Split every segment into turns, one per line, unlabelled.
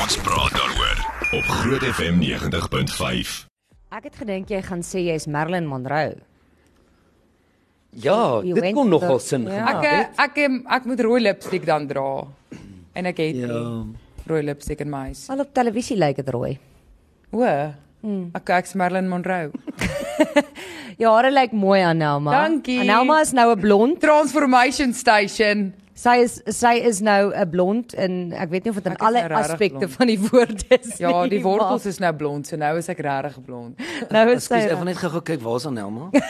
Ons praat daaroor op Groot FM 90.5.
Ek het gedink jy gaan sê jy's Marilyn Monroe.
Ja,
You
dit
went
kon
to
nogal
the-
sin
ja.
gemaak.
Ek
het.
ek ek moet rooi lipstik dan dra. En ek het
Ja.
ja. rooi lipstik in my huis.
Al op televisie lyk dit rooi.
O.
Hmm.
Ek ek's Marilyn Monroe.
Jou hare lyk mooi aan Nelma.
Dankie.
En Nelma is nou 'n blond.
Transformation Station.
Sy is sy is nou 'n blond in ek weet nie of dit in
Ek is
alle
nou regtig
aspekte
blond.
van die woord is.
Ja, die
nie,
wortels is nou blond, so nou is ek regtig blond.
maar Nou is
Ekskuus,
sy
ek wil net gou kyk waar's Anelma?
Ja,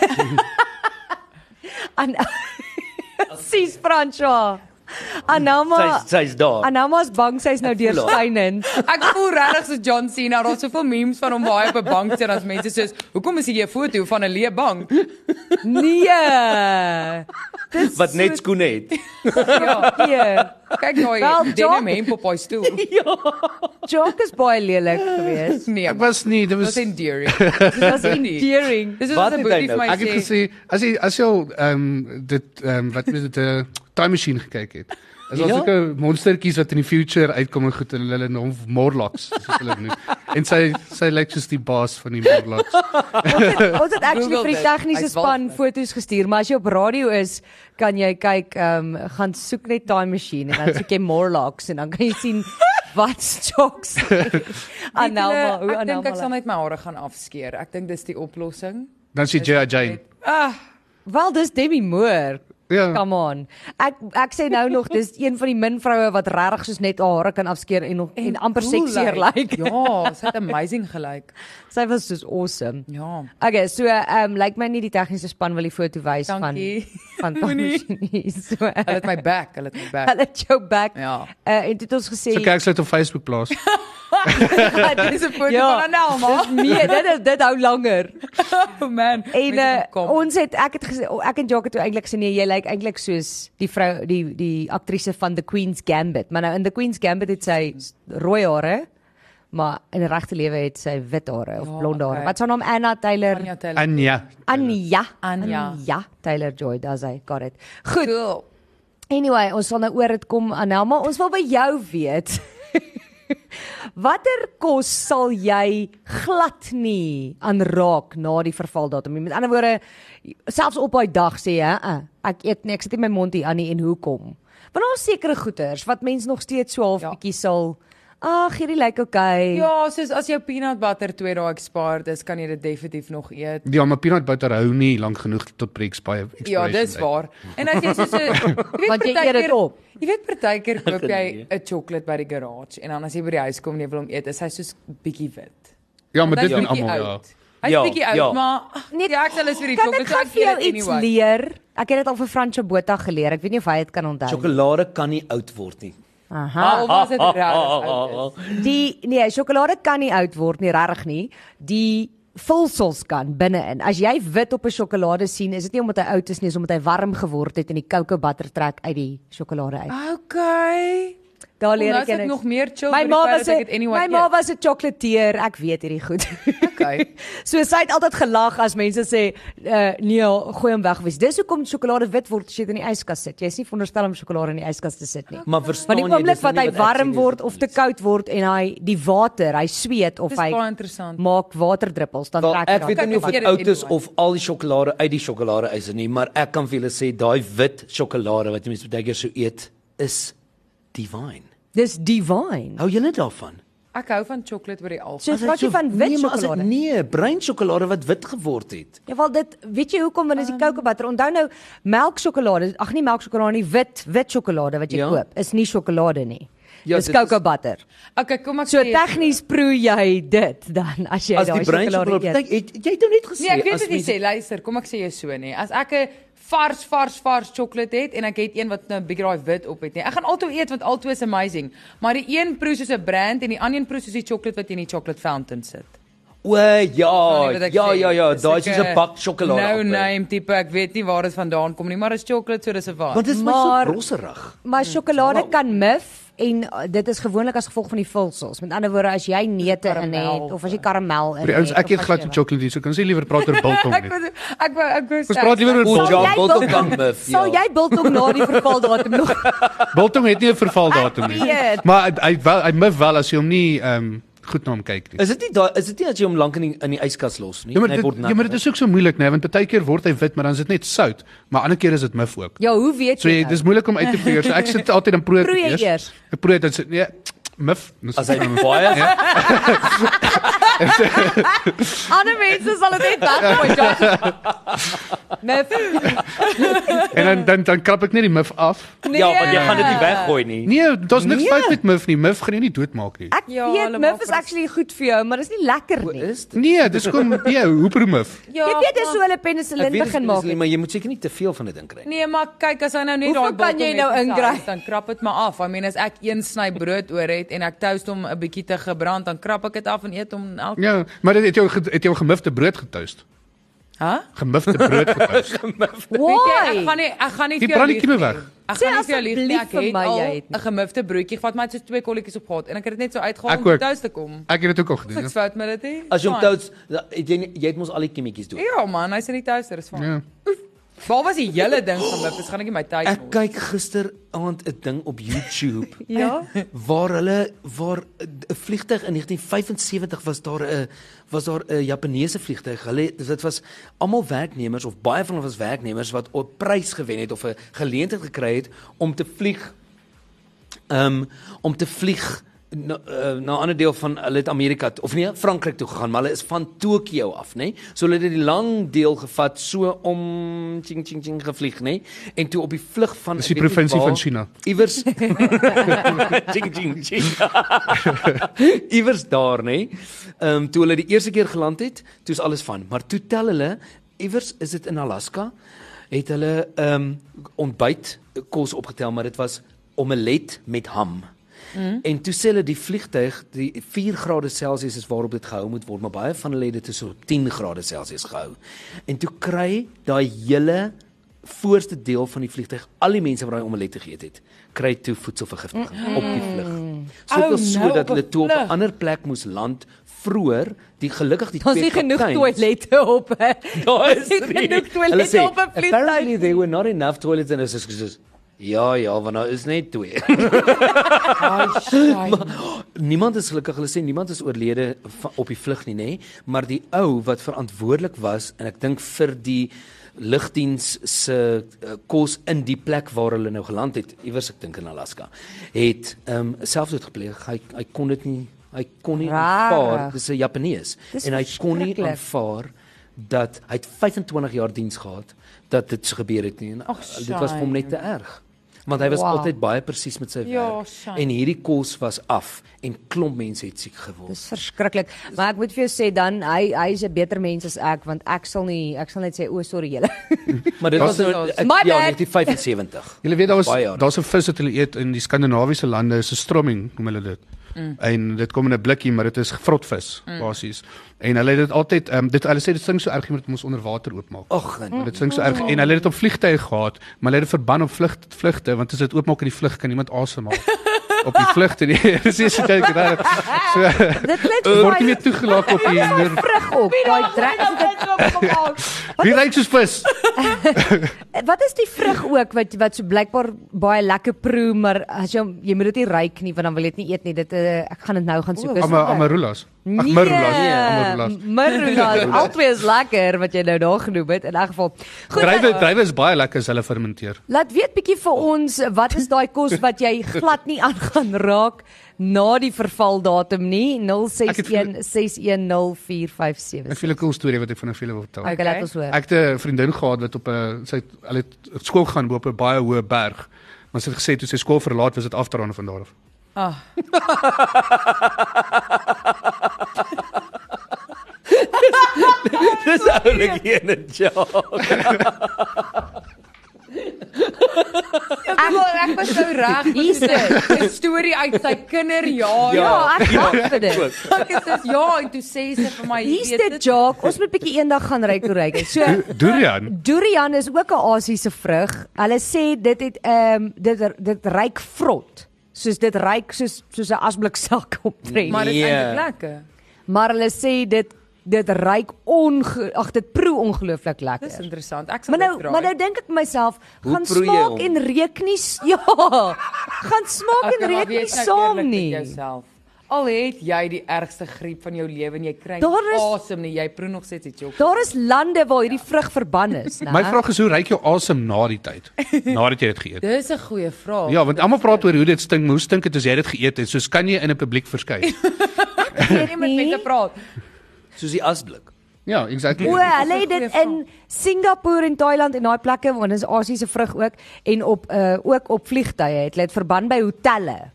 aan Sis Franswa. Anama
Sy's sy's daar.
Anama's bang sy's nou
voel haar.
deurskynend.
Ek voel regtig so John Cena, daar's soveel memes van hom waar hy op 'n bank sit en as mense soos, "Hoekom is hier 'n foto van 'n leë bank?"
Nee. Dis
Wat net skoene het.
Ja,
Ja.
kyk nou
Wel,
hy
John-
denim hemp op hy stoel.
Jock is baie lelik geweest.
Nee,
Ek was nie, dit was
was enduring. Dit was enduring.
Deering.
Dis
Wat
wat 'n
het hy
boetie vir
nou?
my
ek het
sê.
gesê as jy as jy al, ehm dit ehm wat met dit 'n time machine gekyk het. Is daar
Ja.
sulke monstertjies wat in die future uitkom en goed en hulle noem Morlocks soos hulle dit noem. En sy sy lyk soos die baas van die Morlocks.
Ons het actually
Google
vir die
dit.
tegniese
Hy's
span
walglik.
foto's gestuur, maar as jy op radio is, kan jy kyk, ehm um, gaan soek net Time Machine en dan soek jy Morlocks en dan kan jy sien wat jokes.
Weet julle,
Anelma, hoe
ek dink ek sal
Anelma.
net my hare gaan afskeer. Ek dink dis die oplossing.
Dan sien jy Jane.
Ah,
Wel dis Debbie Moore.
Ja.
Come on. Ek ek sê nou nog dis een van die min vroue wat regtig soos net haar hare kan afskeer en nog en, en amper
cool
seksier lyk. Like.
Ja, sy het amazing gelyk.
Sy was soos awesome.
Ja.
Okay, so ehm um, lyk like my nie die tegniese span wil die foto wys van
Dankie.
van Time Machine. nie. So
Hulle het my back, hulle het my back.
hulle het jou back.
Ja.
Uh, en dit het ons gesê
So kyk sy dit op Facebook plaas.
Dis 'n foto
Ja.
van Anelma.
nee, dit is dit hou langer.
Oh man.
En
mense gaan
uh,
kom.
ons het ek het gesê ek en Jacques het toe eintlik gesê nee, jy lyk eintlik soos die vrou die die aktrise van The Queen's Gambit. Maar nou in The Queen's Gambit het sy s- rooi hare, maar in regte lewe het sy wit hare of
Ja,
blonde hare.
okay.
Wat is haar naam Anna Taylor?
Anja Taylor.
Anja.
Anja.
Anja.
Anja Taylor Joy, daar's hy. Got it. Goed.
Cool.
Anyway, ons sal nou oor dit kom Anelma. Ons wil by jou weet. Watter kos sal jy glad nie aanraak na die vervaldatum? nie? Met ander woorde, selfs op daai dag sê jy, "Uh, uh, ek eet niks, dit in my mond hier aan nie en hoekom?" Want daar's sekere goeters wat mense nog steeds so half
Ja.
bietjie sal Ag, hierdie lyk okay.
Ja, soos as jou peanut butter 2 dae expired is, kan jy dit definitief nog eet.
Ja, maar peanut butter hou nie lank genoeg tot pre expire.
Ja, dis waar. En as jy so so
Want jy eet dit op.
Jy weet partykeer koop jy
Nee.
'n chocolate by die garage en dan as jy by die huis kom en jy wil hom eet, is hy soos bietjie wit.
Ja, maar dit
Hy's
doen
bietjie
almal ja.
oud. Hy's
Ja,
bietjie oud,
ja.
maar nee, ja, ek sal is vir die
Kan ek
chocolate so
gou
ek
vir jou
eet dit
iets
anyway.
leer? Ek het dit al vir Franco Botha geleer. Ek weet nie of hy dit kan onthou.
Sjokolade kan nie oud word nie.
Aha.
Maar of as dit regtig oud is.
Die nee, sjokolade kan nie oud word nie, regtig nie. Die vulsels kan binne-in. As jy wit op 'n sjokolade sien, is dit nie omdat hy oud is nie, is omdat hy warm geword het en die cocoa butter trek uit die sjokolade uit.
Okay.
Daar leer
nou
ek
is ek
niks.
nog meer chill
My
met die
ma
feit
was
dat ek
'n
dit anyway
my ma
eet.
was 'n chocolateur, ek weet hierdie goed.
Okay.
so sy het altyd gelag as mense sê, uh, "Nee, gooi hom weg." Wees. Dis hoekom sjokolade wit word as jy dit in die yskas sit. Jy is nie veronderstel om sjokolade in die yskas te sit nie.
Maar verstaan
Maar
jy
die oomblik
dis
wat
nie
hy
ek sien
warm
is
word
dit
of
nie.
te koud word en hy die water, hy sweet of
Dis
hy
baie interessant.
maak waterdruppels dan
Wel,
trek
Ja, ek
hy
weet
dan.
nie of
Kyk,
dit
ek eet
oud is
dit anyway.
of al die sjokolade uit die sjokoladeys nie, maar ek kan vir julle sê daai wit sjokolade wat jy mense baie keer sou eet is divine.
Dis divine.
Hou julle daarvan?
Ek hou van chocolate by die alfa.
So
As dit
praat jy
so-
van wit
nee, maar as dit-
sjokolade.
Nee, bruin sjokolade wat wit geword het.
Ja wel dit weet jy hoekom want dit is die cocoa butter. Onthou nou melksjokolade, ag nie melksjokolade nie, wit wit sjokolade wat jy
Ja.
koop is nie sjokolade nie.
Ja,
Dis
dit is-
cocoa butter.
Okay, kom ek
So
sê-
tegnies proe jy dit dan as jy
As
daai
die bruin
sjokolade
sjokolade,
eet.
Kyk, het- jy het nou net gesê
Nee, ek weet
as
dit nie
mense-
sê luister, kom ek sê jou so nê. As ek 'n vars vars vars sjokolade het en ek het een wat nou 'n bietjie daai wit op het nê. Ek gaan altoe eet want altoe is amazing, maar die een proe soos 'n brand en die ander een proe soos die sjokolade wat in die chocolate fountain sit.
O ja,
Verstaan jy Nou, wat ek
ja
sê?
ja ja,
Dis
daai is soos 'n
sulke
bak sjokolade.
No
appel.
name tipe, ek weet nie waar dit vandaan kom nie, maar is sjokolade so dis 'n waar.
Want dit is maar
Maar-
so rosserig.
Maar sjokolade kan mif en uh, dit is gewoonlik as gevolg van die vulsels. Met ander woorde, as jy neute in
Karamel.
het of as jy karamel in
Die ouens,
het,
ek
of
eet
as
glad
Nee, jy-
nie chocolate, so kan ons nie liewer praat oor biltong
Ek
nie.
wou ek wou ek wou
Ons praat liewer oor
Ons
biltong.
ja,
jy
biltong
biltong-
kan mif.
Sal jy biltong na die vervaldatum nog
Biltong het nie 'n vervaldatum nie.
weet.
Maar hy- hy wel hy mif wel as jy hom nie ehm goed na hom kyk nie.
Is dit nie daai is dit nie dat jy hom lank in die, in die yskas los nie?
Ja maar,
en hy
dit,
word nat.
ja, maar dit is ook so moeilik nê, want baie keer word hy wit, maar dan is dit net sout, maar ander keer is dit mif ook.
Ja, hoe weet
So
jy?
jy, dis moeilik om uit te figure. So ek sit altyd en probeer
Proe jy
eers.
eers?
Ek probeer dan sê nee, mif. dis-
as hy baie
Nee.
Ander mense sal dit net dan my
Ja.
God.
Nee,
Mef.
En dan dan dan krap ek net die mif af.
Nee.
Ja, want jy gaan dit nie weggooi nie.
Nee, daar's niks
Nee.
fout met mif nie. Mif gaan jou nie doodmaak nie.
Ek
Ja,
ja, weet
hulle maak
mif is
vir-
actually goed vir jou, maar dis nie lekker nie.
Is dit?
Nee, dis kom nee, hoepermif.
Ja,
Jy weet dis
maar-
hoe hulle
Ek
penicillin
weet dit
begin maak.
is, maar jy moet seker nie te veel van dit inkry nie.
Nee, maar kyk as hy nou net
Hoeveel kan
biltong
jy nou
het in sy
inkry?
hand, Dan krap dit maar af. I mean as ek een sny brood oor het en ek toast hom 'n bietjie te gebrand, dan krap ek dit af en eet hom elke
Ja, maar dit het jou ge- het jou gemifte brood getoast.
Ha?
Gemifte brood getoast.
Weet jy, ek gaan
Why?
nie ek gaan nie
Die
vir jou lieg
brand die
nie.
kilowerk.
Ek
Sê
gaan nie vir jou
asseblief
lieg nie. Ek
vir
het
my,
al
jy het nie.
'n gemifte broodjie gehad, maar dit is twee kolletjies op gehad en ek het dit net so
Ek
uitgehaal om
ook.
tuis te kom.
Ek het dit ook al gedoen. ja.
Niks fout met dit nie.
As jy hom
Fine.
touts het jy nie- jy het mos al die kimmetjies doen.
Ja man, hy's in die toaster, is
Ja.
fyn. Waar was die hele ding van dit? Dis gaan ek nie my tyd
Ek
mors.
kyk gister aand 'n ding op YouTube
Ja.
waar hulle waar 'n vliegtyg in 1975 was daar 'n was daar 'n Japannese vliegtyg. Hulle dit was almal werknemers of baie van hulle was werknemers wat 'n prys gewen het of 'n geleentheid gekry het om te vlieg um, om te vlieg na, uh, na 'n ander deel van hulle het Amerika toe- of nee, Frankryk toe gegaan, maar hulle is van Tokio af, nê? Nee? So hulle het die lang deel gevat so om ching ching ching gevlieg, nê? Nee? En toe op die vlug van
Dis die
ek weet nie
provinsie
waar,
van China.
Iewers ching ching ching. iewers daar, nê? Ehm um, toe hulle die eerste keer geland het, toe is alles van, maar toe tel hulle iewers is dit in Alaska het hulle ehm um, ontbyt kos opgetel, maar dit was omelet met ham. Mm. En toe sê hulle die vliegtyg, die 4 grade Celsius is waarop dit gehou moet word, maar baie van hulle het dit so op 10 grade Celsius gehou. En toe kry daai hele voorste deel van die vliegtyg, al die mense wat daai omelet geëet het, kry toe voedselvergiftiging mm. op die vlug. Soveel
Ou,
oh, so
nou
dat
op
hulle
'n
toe op
vlug.
'n ander plek moes land vroeër, die gelukkig die
Daar's nie genoeg
kapteins-
toilette op. hè.
Daar
Daar's nie genoeg toilette op 'n
Apparently
vliegtuig.
there were not enough toilets and it's just Ja ja, want nou is net twee. niemand is gelukkig, hulle sê niemand is oorlede va- op die vlug nie, nê, maar die ou wat verantwoordelik was en ek dink vir die lugdiens se eh, kos in die plek waar hulle nou geland het, iewers ek dink in Alaska, het ehm um, selfdood gepleeg. Hy hy kon dit nie hy kon nie aanvaar.
Rarig.
Dis 'n Japanees
Dis
en hy kon nie
verskriklik.
aanvaar dat hy het 25 jaar diens gehad dat dit so gebeur het nie en eh,
Ag,
dit was vir hom net te erg. Want hy was wow.
Wow.
altyd baie presies met sy
Ja,
werk
shame.
en hierdie kos was af en klomp mense het siek geword.
Dis verskriklik. Maar ek moet vir jou sê dan hy hy is 'n beter mens as ek want ek sal nie ek sal net sê o sorry julle.
Maar dit was nou ek,
My
ja
bad.
1975.
Jy weet daar was
Baie jare.
daar's 'n vis wat hulle eet in die Skandinawiese lande, is 'n stromming noem hulle dit. Mm. En dit kom in 'n blikkie, maar dit is vrotvis mm. basies. En hulle het dit altyd ehm um, dit hulle sê dit sing so erg jy moet hom ons onder water oopmaak.
Ag,
Mm. Dit sing so erg en hulle het dit op vliegtye gehad, maar hulle het dit verban op vlug vlugte want as dit oopmaak in die vlug kan niemand asemhaal. op die vlugte nie. Dis is dit reg. So
Dit klink
Eh, word nie meer toegelaat op die
vrug op. Daai drek.
Wie ry soos vis?
Eh, Wat is die vrug ook wat wat so blykbaar baie lekker proe, maar as jy hom- jy moet dit nie ruik nie want dan wil jy dit nie eet nie. Dit eh, ek gaan dit nou gaan soek. Dis-
Ama amarulas. Ag,
Nee,
nee, marulas, amarulas.
Marulas. Altwee eh, is lekker wat jy nou daar genoem het in elk geval. Goed. eh,
Drywe drywe is baie lekker as hulle fermenteer.
Laat weet bietjie vir ons wat is daai kos wat jy glad nie aan gaan raak na die vervaldatum nie
Ek het vir-
061
Ek
6104576.
het 'n cool storie wat ek vanaf julle wil vertel.
Okay,
Okay.
laat ons hoor.
Ek het 'n vriendin gehad wat op 'n sy het, hulle het op skool gaan op 'n baie hoë berg. Maar sy het gesê toe sy skool verlaat was dit afdraande van daar af.
Ah,
Dis oulik een en ja.
ek wil ek was so reg.
Hier's dit.
'n Storie uit sy kinderjare.
Ja, ek wag vir dit.
Ek is dis ja, en toe sê sy vir my,
Hier's dit Jock. Ons moet bietjie eendag gaan ryk hoe ryk. So
Do- Durian.
durian is ook 'n Asiëse vrug. Hulle sê dit het ehm um, dit dit ryk vrot. soos dit ryk soos soos 'n asblik sak optree. Maar,
Maar dit is
Nee.
eintlik lekker.
maar hulle sê dit dit ryk onge ag dit proe ongelooflik
Dis
lekker.
interessant. Ek sal
Maar nou,
dit draai.
maar nou dink ek myself,
Hoe
gaan
proe jy
smaak
hom?
en reuk nie s- ja, gaan smaak en
Okay, maar
reuk nie
wees nou
saam
eerlik met
nie.
Jouself. Al het jy die ergste griep van jou lewe en jy kry
Daar
nie
is-
asem nie, jy proe nog steeds die chocolate.
Daar is lande waar hierdie vrug verban is, né?
My vraag is hoe ryk jou asem na die tyd? Nadat jy dit geëet het.
Dis 'n goeie vraag.
Ja, want almal praat oor hoe dit stink, maar hoe stink dit as jy dit geëet het? Soos kan jy in 'n publiek verskyn?
jy moet met mense praat.
soos die asblik.
Ja, exactly.
O, hulle het
Dis 'n
dit
goeie
in Singapore en Thailand en daai plekke want dis Asiëse vrug ook en op uh, ook op vliegtye het hulle dit verband by hotelle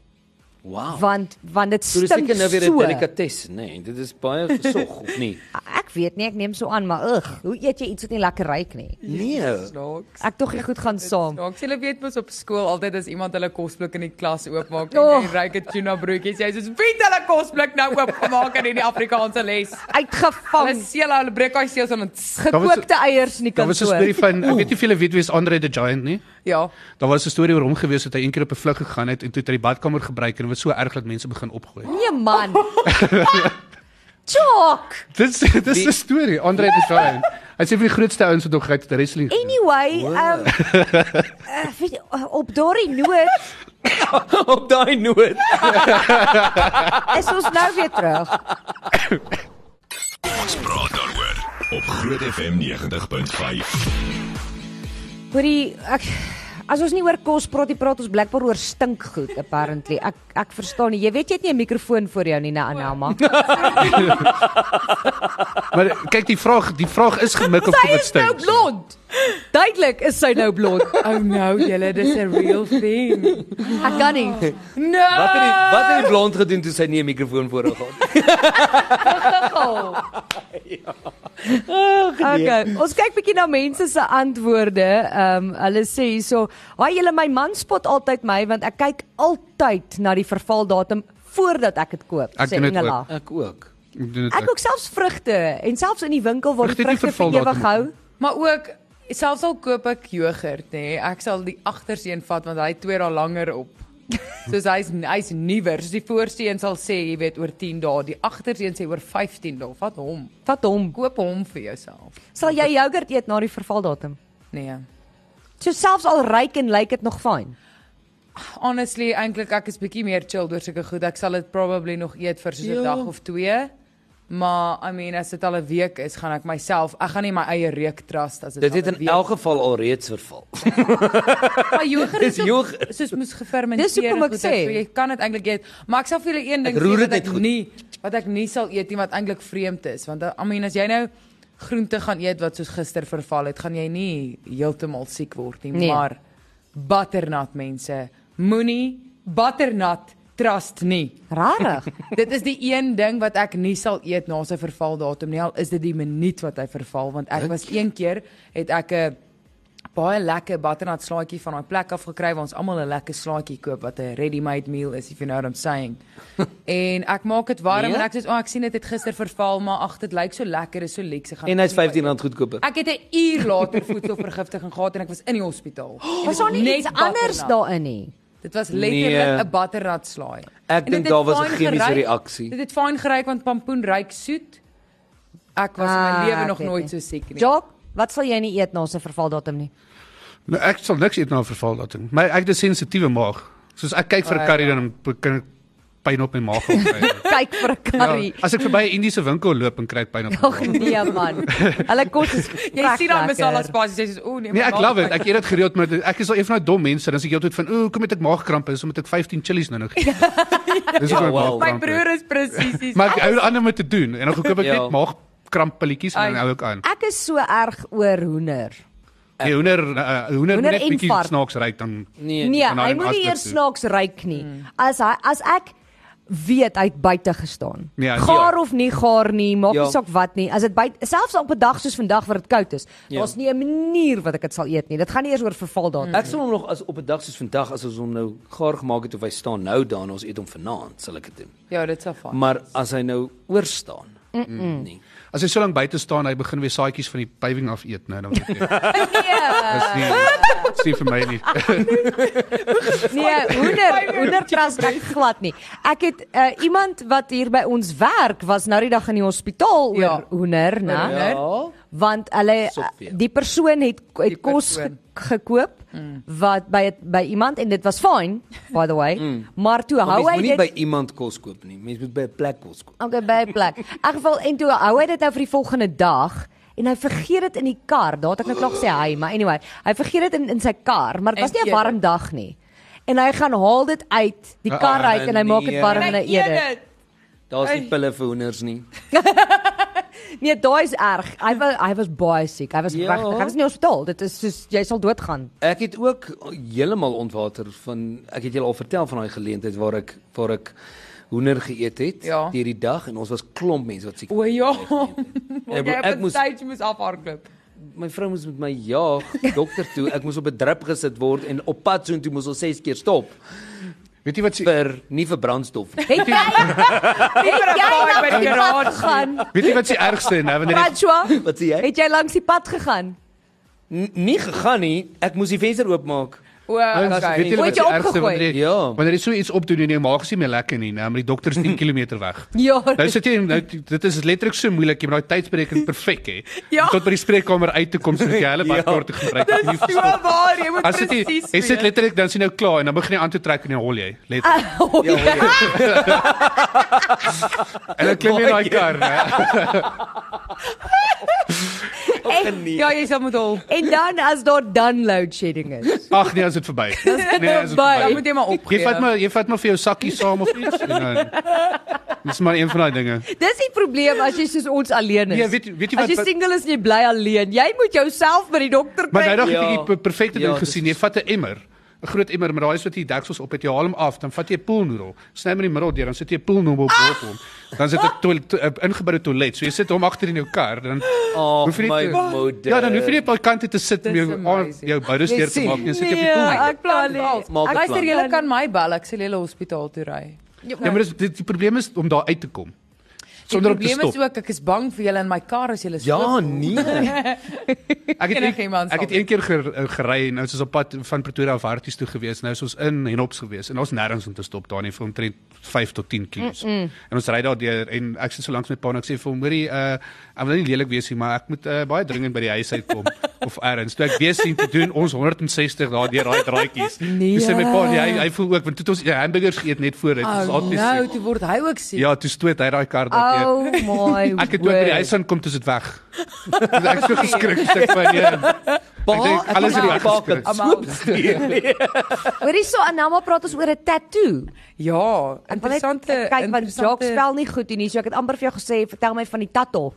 Wow.
want want dit
So dis
stink
seker nou weer 'n
so.
delikatesse, nê. Nee, dit is baie gesog of nie?
Ek weet nie, ek neem so aan maar ugh, hoe eet jy iets wat nie lekker ruik nie?
Nee.
Snaaks.
Ek tog nie goed gaan saam.
Snaaks. Jy weet mos op skool altyd as iemand hulle kosblik in die klas oopmaak
Oh.
en jy ryk 'n tuna broodjies, jy sê soos "Wie het hulle kosblik nou oopgemaak in hierdie Afrikaanse les?" Hulle
Uitgevang
seël hulle breek daai seels aan en
Daar was-
gekookte eiers in die
Daar was 'n storie
kantoor.
van ek weet nie of julle weet wie is Andre the Giant nie.
ja.
Daar was 'n storie oor hom gewees dat hy eendag op 'n vlug gegaan het en toe het hy die badkamer gebruik en dit was so erg dat mense begin opgooi.
Nee man. Chok.
Dis dis 'n storie, Andre the Giant. Hy sê van die grootste ouens wat nog gekyk het wrestling. gedoen.
Anyway, um uh, weet jy, op daardie noot
op daai noot.
is ons nou weer terug.
Ons praat daaroor op Groot FM 90.5.
Hoorie, ek as ons nie oor kos praat nie, praat ons blikbaar oor stinkgoed apparently. Ek ek verstaan nie. Jy weet jy het nie 'n mikrofoon vir jou nie, né, Anelma?
Maar kyk die vraag, die vraag is gemik op wat stink.
blond. Duidelik is sy nou blond.
Oh no, julle, dis 'n real thing.
Ek kan nie.
Nee.
No.
Nou.
Wat het die wat het die blond gedoen toe sy nie 'n mikrofoon voor hom gehad het?
Okay, ons kyk bietjie na mense se antwoorde. Ehm um, hulle sê hierso, "Haai julle, my man spot altyd my want ek kyk altyd na die vervaldatum voordat ek dit koop."
Ek
sê
doen dit
Engela.
ook.
Ek ook.
Ek doen dit
Ek ook selfs vrugte en selfs in die winkel waar die
Vrugte het nie
vrugte vir ewig
vervaldatum.
hou.
Maar ook selfs al koop ek jogurt nê, nee, ek sal die agterste een vat want hy het 2 dae langer op. Soos hy's hy's nuwer. Soos die voorste een sal sê, jy weet, oor 10 dae, die agterste een sê oor 15 dae. Vat hom.
Vat hom.
Koop hom vir jouself.
Sal jy jogurt eet na die vervaldatum?
Nee.
So selfs al ryk en lyk dit nog fyn.
Honestly, eintlik ek is bietjie meer chill oor sulke goed. Ek sal dit probably nog eet vir so 'n
Ja.
dag of twee. Maar I mean, as dit al 'n week is, gaan ek myself, ek gaan nie my eie reuk trust as dit
Dit
al
het
'n
in
week-
elk geval alreeds verval.
Maar jogurt is
Dis
ook
jogurt.
soos moes gefermenteer.
Dis hoekom ek
goed,
sê.
so jy kan dit eintlik eet, maar ek sal vir julle een ding
Ek roer dit
sê wat
net
ek
goed.
nie wat ek nie sal eet nie wat eintlik vreemd is, want I mean as jy nou groente gaan eet wat soos gister verval het, gaan jy nie heeltemal siek word nie,
Nee.
maar butternut mense, moenie butternut trust nie.
Rarig.
Dit is die een ding wat ek nie sal eet na sy vervaldatum nie al is dit die minuut wat hy verval want ek was een keer het ek 'n baie lekker butternut slaaitjie van daai plek af gekry waar ons almal 'n lekker slaaitjie koop wat 'n ready-made meal is if you know what I'm saying. en ek maak dit warm
Nee?
en ek sê o oh, ek sien dit het gister verval maar ag dit lyk so lekker is so lekker ek gaan
En hy's R15 goedkoper.
nee, Ek het 'n uur later voedselvergiftiging gehad en ek was in die hospitaal. En
Was
dit
daar nie
net
iets anders
butternut.
daarin nie?
Dit was
Nee.
letterlik 'n butternut slaai. En dit
dink
het
daar was 'n
fyn
chemiese
geruik.
reaksie.
Dit het fyn geryk want pampoen ryk soet. Ek was in
Ah,
my lewe
ek
nog
weet
nooit so
nie. Ja,
siek nie.
Jock, wat sal jy nie eet na se vervaldatum nie?
Nou ek sal niks eet na 'n vervaldatum. My ek het 'n sensitiewe maag. Soos ek kyk vir
Ah,
'n curry dan kan ek pyn op my maag kry.
Kyk vir 'n curry.
Ja, as ek verby 'n Indiese winkel loop en kry ek pyn op my
Ag
maag.
nee man. Hulle kos is
Jy sien
lekker.
dan masala spasies jy sê o nee.
Nee,
my
ek
maag
love
is
it. Ek eet dit gereeld maar ek is al een van daai dom mense, dan sê ek heeltyd van, "Ooh, kom met ek maagkrampe is omdat ek 15 chillies nou nog eet." Dis
Ja,
ook
wel.
wel.
My broer is presies dieselfde.
Maar ek hou aan om dit te doen en dan koop ek
Ja.
net maagkramppilletjies en dan
Ai.
hou ek aan.
Ek is so erg oor hoender.
Die hoender uh, hoender moet
Eh, Hoender
net
en
bietjie
vark.
snaaks ryk dan.
Nee.
Nee,
kan
hy
haar
moet nie
in
eers
asblik
snaaks ryk nie.
Mm.
As hy as ek weet hy het buite gestaan.
Nee,
Ja, ja.
gaar of nie gaar nie, maak nie
Ja.
saak wat nie. As dit buite selfs op 'n dag soos vandag waar dit koud is,
Ja. Mm.
daar's nie 'n manier wat ek dit sal eet nie. Dit gaan nie eers oor vervaldatum.
Ek sal hom nog as op 'n dag soos vandag as ons hom nou gaar gemaak het of hy staan nou daar en ons eet hom vanaand, sal ek dit doen.
Ja, dit sal fyn.
Maar as hy nou oor staan. Nee.
As hy so lank buite staan, hy begin weer saadjies van die paving af eet nou dan weet jy.
Nee.
Dis nie Sien vir my nie.
Nee, hoender, hoender trust ek glad nie. Ek het uh, iemand wat hier by ons werk was nou die dag in die hospitaal oor
Ja.
hoender, né?
hoender.
Ja.
Want hulle eh,
Sophia.
die persoon het, het
Die
kos ge-
persoon. Mm.
gekoop wat by het, by iemand en dit was fyn by the way. Maar toe
Maar
hou
mens
hy
moet nie
dit
by iemand kos koop nie. Mens moet by 'n plek kos koop.
Okay, by 'n plek. In geval en toe hou hy dit nou vir die volgende dag en hy vergeet dit in die kar. Daar het ek nou klaar gesê hy, maar anyway, hy vergeet dit in in sy kar, maar dit was
En
nie 'n
eet
warm
dit.
dag nie. En hy gaan haal dit uit, die kar
Ah,
uit en hy maak dit
nee.
warm en
En hy
hy eet dit.
dit.
Daar's nie
Ai.
pille vir hoenders nie.
Nee, daai is erg. Hy was hy was baie siek. Hy was
Ja.
regtig. Hy was in die hospitaal. Dit is soos jy sal doodgaan.
Ek het ook heeltemal ontwater van ek het julle al vertel van daai geleentheid waar ek waar ek hoender geëet het
Ja.
deur die dag en ons was klomp mense wat siek.
O ja.
Ek
Ek,
moet- ek
ek
moes-
moes stage moes afhardloop.
My vrou moes met my jaag dokter toe. Ek moes op 'n drip gesit word en op pad soontoe moes ons 6 keer stop
Weet jy wat se
vir nie vir brandstof nie.
Het jy het jy
baai by
langs
die
die pad
garage.
gegaan?
weet jy wat se ergste nou wanneer jy
Patjwa,
Wat sê jy?
het jy langs die pad gegaan?
N nie gegaan nie. Ek moes die venster oopmaak.
O,
Ouens, Weet
okay.
julle
Word
wat
jy
die ergste
opgegooi?
wanneer jy
Ja.
wanneer jy so iets opdoen en jou maag is nie meer lekker nie, nou maar die dokter is 10 km weg.
Ja.
Nou sit jy nou dit is letterlik so moeilik, jy moet daai tydsberekening perfek hê.
Ja.
Om Tot by die spreekkamer uit te kom sodat jy hulle badkaart te gebruik.
Dis so waar, jy moet
As dit jy
presies.
sit
weet.
letterlik dan sien nou klaar en dan begin jy aan te trek en jy hol jy. Letterlik.
Oh, ja.
En dan klim jy in daai kar, né?
En,
Ja, jy sal moet hol.
en dan as daar dan load shedding is.
Ag nee, as dit verby. Nee, as
Dan
dit verby.
moet jy maar op.
Jy vat maar jy vat maar vir jou sakkie saam of iets en dan Dis maar een van daai dinge.
Dis die probleem as jy soos ons alleen is.
Ja, weet- weet jy wat-
As jy
wat-
single is en jy bly alleen, jy moet jouself by die dokter
Maar nou
kry.
dog het
Ja.
ek die perfekte
Ja,
ding
dis
gesien. Jy vat 'n emmer, 'n groot emmer met daai soort die deksels op het, jy haal hom af, dan vat jy 'n poolnoedel, sny hom in die middel deur, dan sit jy 'n poolnoedel op ah! hom. Dan sit 'n toilet 'n ingeboude toilet. So jy sit hom agter in jou kar, dan
Oh
hoef jy
my
nie
moeder.
te, Ja, dan hoef jy nie op die kant te sit om
Dis
jou arm-
amazing. Ja,
jou boudes
Jy
deur te
sien.
maak, jy sit jy op die
Nee,
poolnoedel.
ek plan nie.
Maak 'n
Ek
Luister,
plan.
julle kan my bel, ek sal julle hospitaal toe ry.
Ja, maar dis dit die probleem is om daar uit te kom. Sonder om te
Die probleem is
stop.
ook ek is bang vir julle in my kar as julle
Ja,
stop.
nee.
Ek het
Enige
een,
iemand
ek het
sal
een keer ger, gery en nou is ons op pad van Pretoria af Harties toe gewees. Nou is ons in Henops gewees en ons nêrens om te stop daar nie vir omtrent 5 tot 10 km. Mm -mm. En ons ry daar deur en ek sit so lank met pa en ek sê vir hom, "Hoorie, uh ek wil nie lelik wees nie, maar ek moet uh, baie dringend by die huis uitkom of errands." Toe ek weer sien te doen ons 160 daar deur daai draadjies.
Nee.
Dis my pa, die, hy hy voel ook want toe het ons ja, hamburgers geëet net voor dit. Ons
Oh,
altyd
nou,
siek.
toe word hy ook siek.
Ja, toe stoot hy daai kar daar deur.
Oh my.
Ek het toe ek by die
word.
huis aankom, toe is dit weg. ek het so geskrik, ek sê van nee.
Pa,
Ek dink
ek
alles
kom
het
maar
weggeskrik.
pak het
Almal.
Hoorie so, en nou maar praat ons oor 'n tattoo.
Ja,
Ek wil net
interessante
kyk want Jacques
interessante-
spel nie goed hier nie, so ek het amper vir jou gesê, vertel my van die tattoo.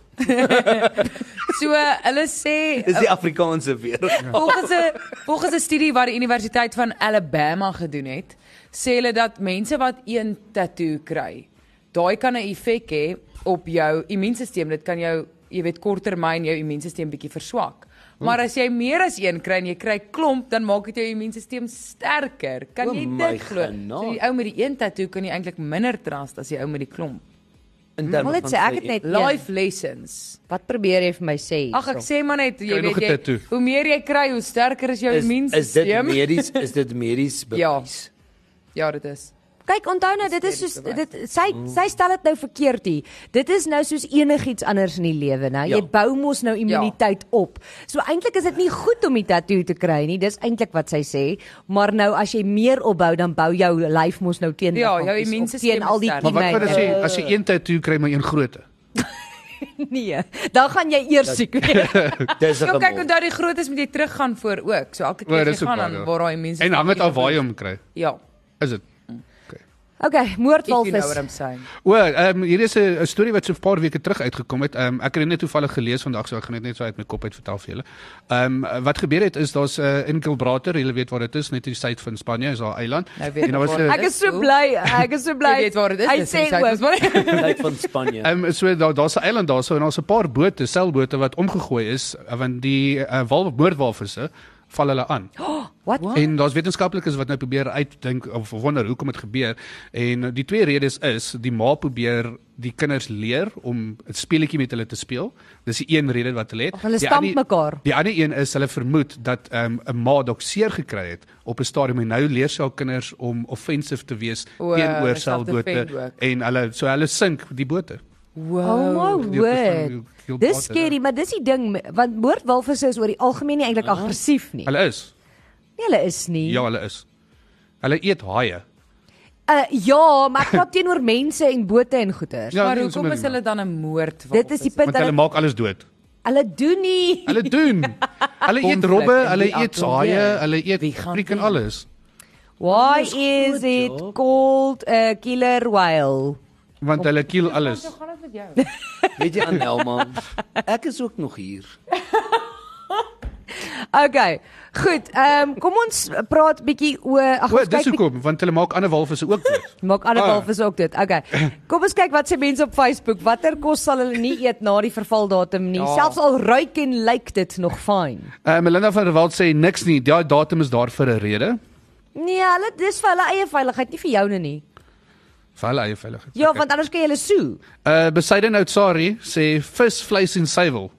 So hulle sê
Dis die Afrikaanse weer.
Volgens 'n volgens 'n studie wat die Universiteit van Alabama gedoen het, sê hulle dat mense wat een tatoe kry, daai kan 'n effek hê op jou immuunstelsel. Dit kan jou, jy weet, korttermyn jou immuunstelsel bietjie verswak. Maar as jy meer as een kry en jy kry klomp, dan maak dit jou immuunstelsel sterker.
O,
Kan jy
my
dit glo? So
genade.
die ou met die een tatoe kan jy eintlik minder trust as die ou met die klomp.
In terme
Wil dit
van
sê ek
sy-
het net een.
Life lessons.
Wat probeer jy vir my sê?
Ag ek sê maar net, jy
Kry nog
weet
'n
jy,
tattoo.
hoe meer jy kry, hoe sterker is jou
is, is dit
immuunstelsel.
medies is dit medies
Ja.
bewys.
Ja, dit is.
Kyk, onthou nou, dit is soos dit sy sy stel dit nou verkeerd hier. Dit is nou soos enigiets anders in die lewe, nou.
Ja.
Jy bou mos nou immuniteit op. So eintlik is dit nie goed om die tatoe te kry nie. Dis eintlik wat sy sê. Maar nou as jy meer opbou, dan bou jou lyf mos nou teen
Ja,
liggaampies
jou
op,
immuunstelsel
teen al die
is sterk.
Maar wat wil dit sê
kiemen.
Eh,
as jy een tattoo kry maar een grootte?
Nee, dan gaan jy eers siek wees.
Ja. Dis 'n
Ja, kyk
gemors.
onthou die grootes moet jy teruggaan voor ook. So elke
O,
keer as
dis
jy
ook
gaan
waar,
dan
ja.
waar daai mense
En hang dit af waar jy hom kry.
Ja.
Is dit?
Okay,
If you know
moordwalvis.
what I'm saying.
O, ehm um, hier is 'n 'n storie wat so 'n paar weke terug uitgekom het. Ehm um, ek het dit net toevallig gelees vandag, so ek gaan dit net so uit my kop uit vertel vir julle. Ehm um, wat gebeur het is daar's 'n uh, Enkelbrater, julle weet waar dit is, net in die suid van Spanje, is daar 'n eiland.
Nou weet
en daar
ek
was
waar.
'n
Ek is so bly, ek is so bly.
Jy weet waar dit is.
Hy
dis
sê
in die
ook,
Suid-Afrika.
Lyk van Spanje.
Ja.
Ehm um, so daar daar's 'n eiland daarso en daar's 'n paar bote, seilbote wat omgegooi is eh, want die uh, wal eh, moordwalvisse val hulle aan.
Oh. Wat?
En daar's wetenskaplikes wat nou probeer uitdink of wonder hoekom dit gebeur. En die twee redes is die ma probeer die kinders leer om 'n speletjie met hulle te speel. Dis die een rede wat hulle het.
Ag, hulle
Die
stamp
ander-
mekaar.
Die ander een is hulle vermoed dat ehm, 'n ma dalk seer gekry het op 'n stadium en nou leer sy haar kinders om offensive te wees
O,
eh,
teenoor
self defend
selfbote
ook.
en hulle so hulle sink die bote.
Oh
Wow.
my
Die persoon
word.
die- die op
Dis
pad is,
skerry, maar dis die ding want moordwalvisse is oor die algemeen nie eintlik aggressief nie.
Hulle is.
Nee, hulle is nie.
Ja, hulle is. Hulle eet haie.
Uh, ja, maar ek praat teenoor mense en bote en goeters.
Ja,
Maar
nee,
hoekom
sommer
is
nie,
hulle dan 'n moord?
Dit is die punt
want hulle
hulle,
maak alles dood.
hulle doen nie.
Hulle doen. Hulle eet
Konflik
robbe,
en
hulle
wie
eet
gaan
haie,
wen?
hulle eet
Wie gaan
friek en
wen?
alles.
Why is it called a killer whale?
Want hulle kiel alles.
Hoe gaan dit met jou?
Weet jy Anelma, ek is ook nog hier.
Okay. Goed, ehm um, kom ons praat bietjie oor ag
O,
ons
dis
kyk bietjie-
hoekom, want hulle maak ander walvisse ook dood.
maak ander
Ah.
walvisse ook dit. Okay. Kom ons kyk wat sê mense op Facebook. Watter kos sal hulle nie eet na die vervaldatum nie?
Ja.
Selfs al ruik en lyk dit nog fyn.
Uh, Melinda van der Walt sê niks nie. Daai datum is daar vir 'n rede.
Nee, hulle dis vir hulle eie veiligheid, nie vir joune nie.
Vir hulle eie veiligheid.
Ja, want anders kan jy hulle soe.
Uh Besaiden Outsari sê vis, vleis en suiwel.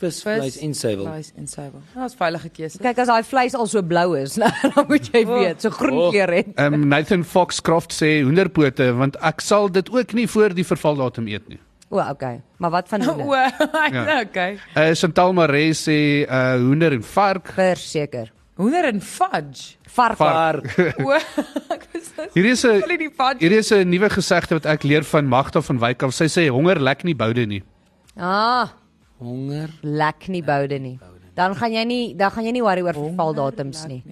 Vis, vleis en suiwel.
Vleis en suiwel. Dit was veilige keuse.
Kyk as daai vleis al so blou is, nou, dan moet jy weet, so groen
Oh.
kleur het.
Um Nathan Foxcroft sê hoenderpote want ek sal dit ook nie voor die vervaldatum eet nie.
O, okay. Maar wat van
O,
hulle?
Ja.
okay.
Uh Chantal Maree sê uh hoender en vark.
Verseker.
Hoender en fudge.
Vark.
Paar
O, ek was so
Hier is 'n
Hulle die fudge.
hier is 'n nuwe gesegde wat ek leer van Magda van Wyk af. Sy sê honger lek nie boude nie.
Ah,
honger.
lek nie boude nie. Dan gaan jy nie dan gaan jy nie worry oor vervaldatums nie.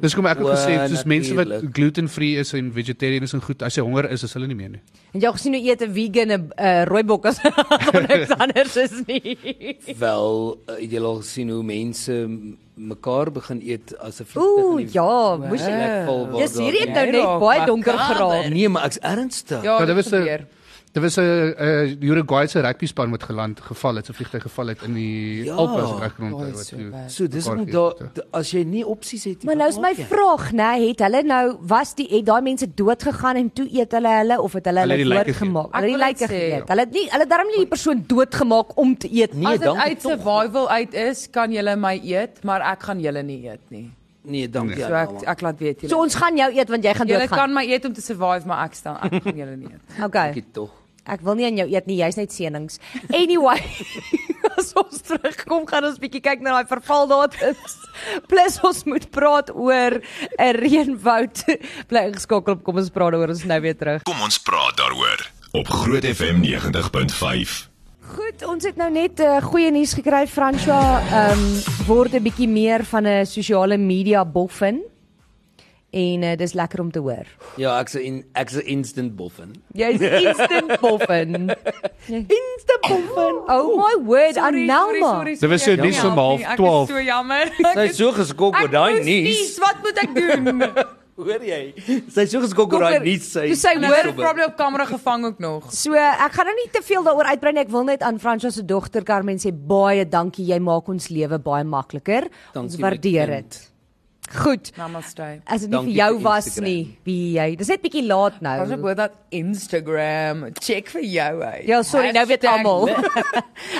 Dis kom ek ook gesê
O,
het, soos mense wat
natuurlijk.
gluten-free is en vegetarian is en goed, as jy honger is, is hulle nie meer nie.
En jy het gesien hoe eet 'n vegan 'n uh, rooibok as van niks anders is nie.
Wel, uh, jy al sien hoe mense m- mekaar begin eet as 'n vlug
Ooh, ja, moes jy-
jy
Dis hierdie het nou
Nee,
net
raak
baie donker
makaber.
geraak.
Nee, maar ek's ernstig.
Ja,
Maar
dit
dit
was
was 'n-
gebeur.
Daar was 'n uh, Uruguay se rugby span wat geland geval het, se vliegtuig geval het in die
Ja,
ja, Alpe as ek reg rond
daai
het,
is
wat
so
toe-
bad.
So dis
mekaar
om
geëet
daar
het, ja.
da- as jy nie opsies het
Maar nou is my
vra.
vraag, nê, nee, het hulle nou was die het daai mense dood gegaan en toe eet hulle hulle of het hulle
Hulle
hulle
het die lyke
doodgemaak?
geëet.
Hulle het die
Ek wil
lyke
net sê-
geëet. Hulle het nie hulle het darm nie die persoon doodgemaak om te eet nie.
Nee,
As dit
dankie
uit survival uit is, kan julle my eet, maar ek gaan julle nie eet nie.
Nee, dankie.
Ja,
So ek ek laat weet
So
julle.
ons gaan jou eet want jy gaan
Julle
doodgaan.
kan my eet om te survive, maar ek staan ek gaan julle nie eet.
Okay.
dankie tog.
Ek wil nie aan jou eet nie, jy's net seenings. Anyway, as ons terugkom gaan ons bietjie kyk na daai vervaldatums. Plus ons moet praat oor 'n reënwoud. Bly ingeskakel, kom ons praat daaroor ons nou weer terug.
Kom ons praat daaroor op Groot FM 90.5.
Goed, ons het nou net uh, goeie nuus gekry. Franswa ehm word 'n bietjie meer van 'n sosiale media boffin. En uh, dis lekker om te hoor.
Ja, ek's 'n ek's 'n instant boffin.
Jy's instant boffin. instant boffin. Nee. Oh my word, Anelma.
Dit was so
sorry,
nuus
ek
om
help
half
nie. Ek is
12.
So jammer.
Sy is so geskok oor daai
Dis
nuus.
wat moet ek doen?
Hoor jy? Sy is so geskok oor daai
Kom,
nuus. Sy
toe sy
Nou
nie
word
sober.
probably op kamera gevang ook nog.
So ek gaan nou nie te veel daaroor uitbrei nie. Ek wil net aan Franswa se dogter Carmen sê baie dankie. Jy maak ons lewe baie makliker. Ons
Dankie, my
waardeer
kind.
dit. Goed.
Namaste.
As dit nie
Dankie
vir jou
vir
was
Instagram.
nie, wie jy. Dis net bietjie laat nou.
Ons het oor dat Instagram. Check vir jou uit.
Ja, sorry, nou weet
Hashtag
almal.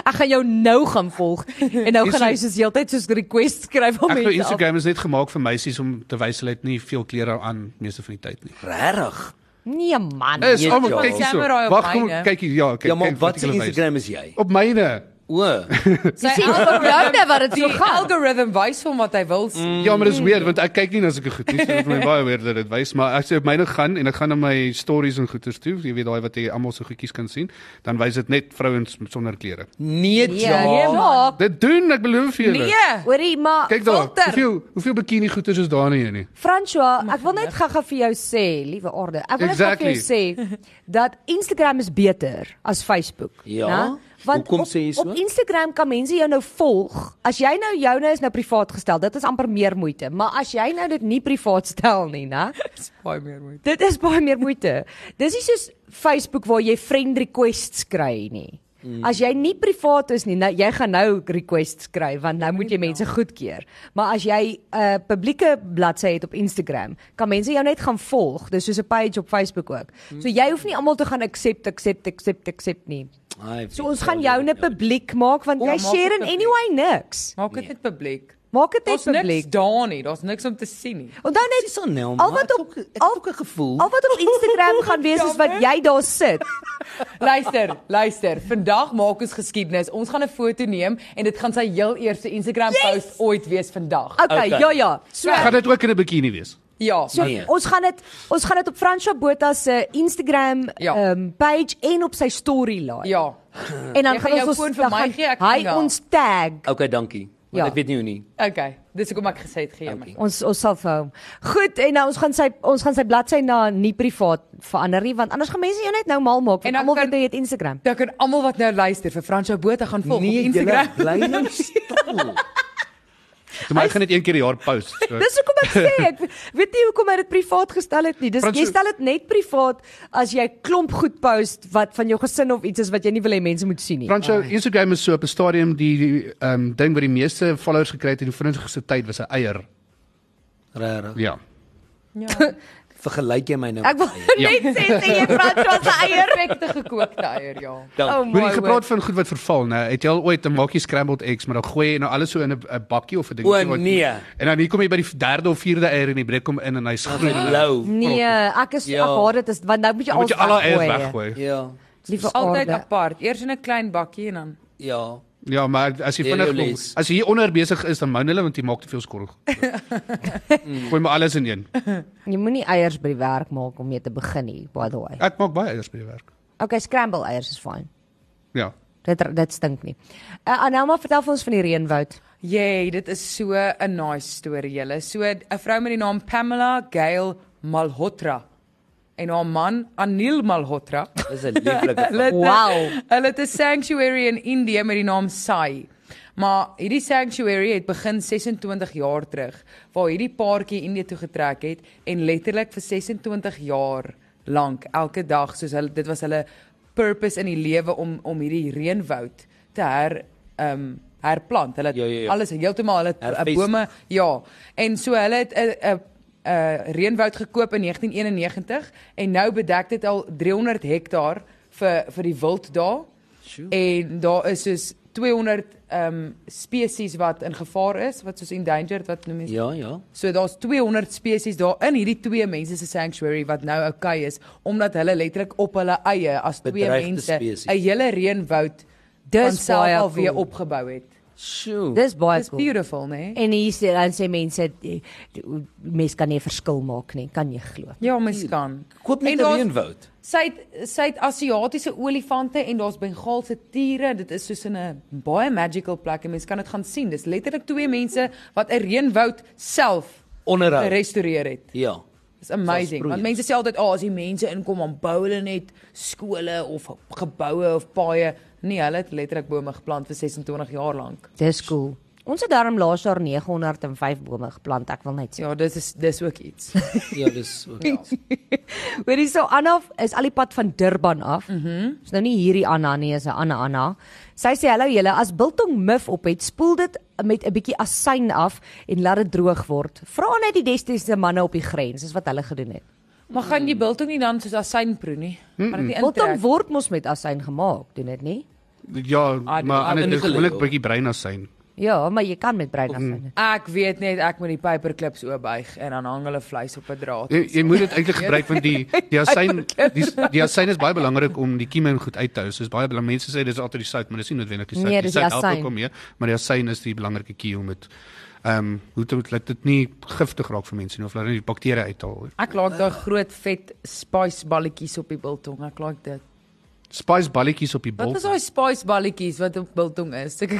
ek gaan jou nou gaan volg en nou
Is
gaan hy
dit-
soos heeltyd soos requests skryf
Oh,
om
Ek glo
mense. af-
Instagram is net gemaak vir meisies om te wys hulle het nie veel klere aan meeste van die tyd nie.
Regtig?
Nee man.
Is
Nee,
almal
Charles.
kyk hierso.
Samurai op
Wag, kom
myne.
kyk hier, ja, kyk.
Ja, maar
kyk
wat se
wat hulle wys.
Instagram is jy?
Op myne.
O. nee,
Sy
Sien, ek onthou net wat dit so
die
gaan.
algoritme wys vir hom wat hy wil sien.
Ja, maar dis weird want ek kyk nie na sulke goed nie. So dit is vir my baie weird dat dit wys, maar as jy op myne gaan en ek gaan na my stories en goeters toe, jy weet daai wat jy almal so goedjies kan sien, dan wys dit net vrouens sonder klere.
Nee,
nee,
ja.
maak.
Dit doen ek beloof vir julle.
Nee.
Hoorie, maar
Kyk daar,
filter.
hoeveel hoeveel bikini goeters is daar nie in nie.
François, ek wil net gaga vir jou sê, liewe orde. Ek wil net gaga vir jou sê dat Instagram is beter as Facebook,
Ja?
né? Want
Hoekom
op,
sê jy so?
op Instagram kan mense jou nou volg. As jy nou joune is nou privaat gestel, dit is amper meer moeite, maar as jy nou dit nie privaat stel nie, né?
Dis baie meer moeite.
Dit is baie meer moeite. Dis nie soos Facebook waar jy friend requests kry nie.
Mm.
As jy nie privaat is nie, nou jy gaan nou requests kry want
Ja,
nou moet jy mense goedkeur. Maar as jy 'n uh, publieke bladsy het op Instagram, kan mense jou net gaan volg. Dis soos 'n page op Facebook ook. So
Mm.
jy hoef nie almal te gaan accept, accept, accept, accept nie.
Ai,
So
Ja,
ons gaan jou 'n publiek maak want jy
maak
share
dit
in
publiek.
anyway niks.
Maak dit net publiek.
Maak dit net
Daar's niks
publiek.
daar nie. Daar's niks om te sien nie.
Onthou net
Dis aan Nel.
al wat op al,
ook 'n gevoel.
al wat op Instagram gaan wees is wat jy daar sit.
Luister, luister. Vandag maak ons geskiedenis. Ons gaan 'n foto neem en dit gaan sy heel eerste Instagram yes! post ooit wees vandag.
Okay,
Okay.
ja ja. So
Gaan dit ook in 'n bikini wees?
Ja.
So
Nee.
ons gaan dit ons gaan dit op Fransha Botha se Instagram
Ja.
ja. um, page en op sy story laai.
ja.
En dan gaan
Jy gaan jou
ons
foon
ons
vir
dan
my
gaan
gee, ek
hy
doen wel.
ons tag.
Okay, dankie. Want
Ja.
ek weet nie hoe nie.
Okay. Dis hoekom ek gesê het gee my.
Okay.
Ons ons sal vir hom. Goed en nou ons gaan sy ons gaan sy bladsy na nie privaat verander nie want anders gaan mense jou net nou mal maak
En
want
dan
almal
kan-
weet jy het Instagram.
Dan kan almal wat nou luister vir Fransjo Botha gaan volg op
Nee, julle
Instagram.
bly nou stil.
Toe maar ek gaan dit een keer per jaar post. So.
Dis hoekom ek sê ek weet nie hoekom hy dit privaat gestel het nie. Dis
Frans-
jy stel dit net privaat as jy klomp goed post wat van jou gesin of iets is wat jy nie wil hê mense moet sien nie.
Franco Instagram is so op 'n stadium die die, ehm um, ding wat die meeste followers gekry het in die vinnigste tyd was 'n eier.
Regtig.
Ja.
Vergelyk jy my nou?
Ek wil net sê sê jy Franswa se eier.
Perfekte gekookte eier, ja.
Oh
Hoor jy
my
gepraat
word.
van goed wat verval, né? Het jy al ooit 'n maakie scrambled eggs, maar dan gooi jy nou alles so in 'n 'n bakkie of 'n ding
O, nee.
En dan hier kom jy by die derde of vierde eier en die breek kom in en hy's groen.
Lou.
Nee, ek is
Ja.
ek haat dit is want nou moet jy
Dan moet
alles
jy al daai eiers
weggooi.
weggooi.
Ja.
Liewe
Altyd
aarde.
apart. Eers in 'n klein bakkie en dan
Ja.
Ja, maar as jy
Deel jou
vinnig kom,
les.
as jy hier onder besig is dan moun hulle want jy maak te veel skorrel. gooi maar alles in een.
Jy moenie eiers by die werk maak om mee te begin nie, by the way.
Ek maak baie eiers by die werk.
Okay, scramble eiers is fyn.
Ja.
Dit dit stink nie. Uh, Anelma vertel vir ons van die reënwoud.
Jay, dit is so 'n nice storie julle. So 'n vrou met die naam Pamela Gail Malhotra en haar man Anil Malhotra.
Dis 'n lieflike.
Hulle het 'n-
Wow.
Hulle het 'n sanctuary in Indië met die naam Sai. Maar hierdie sanctuary het begin 26 jaar terug waar hierdie paartjie Indië toe getrek het en letterlik vir 26 jaar lank elke dag soos hulle dit was hulle purpose in die lewe om om hierdie reënwoud te her ehm um, herplant. Hulle het
Ja, ja, ja.
alles heeltemal hulle het, uh,
Herfeest.
bome ja en so hulle het 'n 'n 'n reënwoud gekoop in 1991 en nou bedek dit al 300 hektaar vir vir die wild daar.
Sjoe.
En daar is soos 200 ehm um, spesies wat in gevaar is, wat soos endangered wat noem mense.
Ja, ja.
So daar's 200 spesies daar in hierdie twee mense se sanctuary wat nou okay is omdat hulle letterlik op hulle eie as twee
Bedreigde
mense 'n
spesies.
hele reënwoud
Dis
van self
baie
al weer
cool.
opgebou het.
Sjoe.
Dis baie
Dis
cool.
beautiful, né? Nee?
En hier sê dan sê mense eh, mense kan nie 'n verskil maak nie, kan jy glo.
Ja, mens kan.
koop net
En
'n
daar's-
reënwoud.
Sy het, sy het Asiatiese olifante en daar's Bengaalse tiere. Dit is soos in 'n baie magical plek en mense kan dit gaan sien. Dis letterlik twee mense wat 'n reënwoud self
Onderhou.
gerestoreer het.
Ja.
Dis amazing.
Selfs
Want mense sê altyd, "Ag, oh, as die mense inkom, dan bou hulle net skole of geboue of paaie." Nee, hulle het letterlik bome geplant vir 26 jaar lank.
Dis cool. Ons het daarom laas jaar 905 bome geplant, ek wil net sê.
Ja, dit is dis ook iets.
Ja, dis ook. Ja.
Hoorie so Anna is al die pad van Durban af. Mhm. Mm is nou nie hierdie Anna nie, is 'n ander Anna. Sy sê hallo julle, as biltong mif op het, spoel dit met 'n bietjie asyn af en laat dit droog word. Vra net die destydse manne op die grens, is wat hulle gedoen het.
maar gaan
Mm.
die biltong nie dan soos asyn proe nie? Maar dit nie
Biltong
intrek.
word mos met asyn gemaak, doen dit nie?
Ja,
Ah,
maar
ah,
ander
in
is
geluk
gewoonlik
ook.
bietjie breinasyn.
Ja, maar jy kan met bruin asyn.
Ek weet net ek moet die paperclips oopbuig en dan hang hulle vleis op 'n draad.
Jy, jy moet dit eintlik gebruik want die die asyn die, die asyn is baie belangrik om die kieme en goed uit te hou. Soos baie belangrik mense sê dis altyd die sout, maar dis nie noodwendig die sout.
Nee, dis die asyn.
ook om mee, maar die asyn is die belangrike kie om dit ehm um, hoe dit laat dit nie giftig raak vir mense nie of laat dit nie die bakterieë uithaal.
Ek laik daai groot vet spice balletjies op die biltong. Ek laik dit.
Spice balletjies op die
Wat
bol.
is daai spice balletjies wat op biltong is? Ek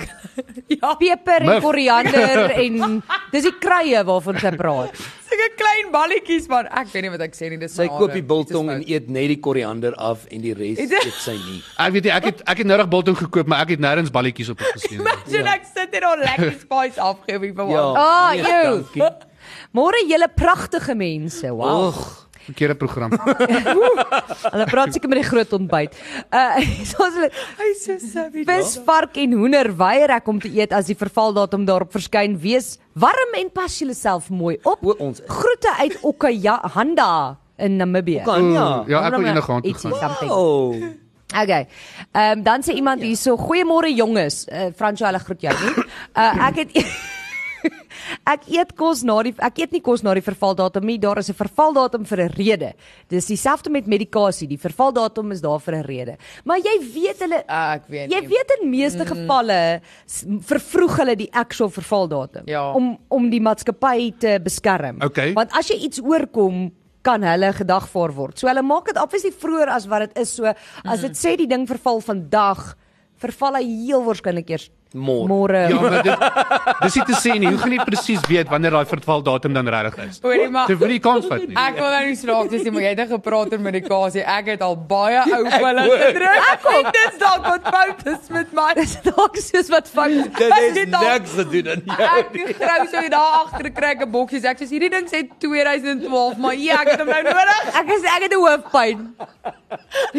ja,
Peper en
Mif.
koriander en dis die kruie waarvan sy praat.
sulke klein balletjies man. Ek weet nie wat ek sê nie. Dis
Sy
my
koop
hare.
die biltong en
Dit is
eet net die koriander af en die res
Het-
eet sy nie.
Ek weet nie, ek het nou ek het noudag biltong gekoop, maar ek het nêrens balletjies op dit gesien.
fout. Imagine
Ja.
ek sit en al lekker spice afgee vir my.
Ja.
Ja.
Ah,
nee,
eeuw.
dankie.
Môre julle pragtige mense. Wow.
Och.
Verkeerde program. Ja,
Hulle praat seker met die groot ontbyt. Uh so as hulle
Hy so savvy.
vis, vark en hoender weier ek om te eet as die vervaldatum daarop verskyn. Wees warm en pas jouself mooi op.
O, ons-
groete uit Okayahanda in Namibië.
Kan ja.
ja, ek wil eendag aan toe
Ietsie,
gaan.
Mm.
something.
Oh.
Okay. Ehm um, dan sê iemand hierso, "Goeiemôre jonges. Uh, Fransjo, hulle groet jou nie. Uh, ek het Ek eet kos na die ek eet nie kos na die vervaldatum nie. Daar is 'n vervaldatum vir 'n rede. Dis dieselfde met medikasie. Die vervaldatum is daar vir 'n rede. Maar jy weet hulle
Ah, ek weet
Jy
nie. Mhm.
weet in meeste gevalle s- vervroeg hulle die actual vervaldatum
Ja.
om om die maatskappy te beskerm.
Okay.
Want as jy iets oorkom kan hulle gedagvaar word. So hulle maak dit obviously vroeër as wat dit is. So as dit sê die ding verval vandag, verval hy heel waarskynlik eers
Môre.
Môre.
Ja, maar dit dis nie te sê nie. Hoe gaan jy presies weet wanneer daai vervaldatum dan regtig is?
Hoorie maar.
Dit wil nie kans vat nie.
Ek wil nou nie slaap dis nie, maar jy het nou gepraat oor medikasie. Ek het al baie
Ja,
ou pille gedrink. Ek dink dis dalk wat fout is met my.
Dis dalk soos wat vang.
Dit is
gedoen aan
Ek die grou sou daar agter kry 'n boksies. Ek sê hierdie ding sê 2012, maar ja, ek het hom nou nodig.
Ek is ek het 'n hoofpyn.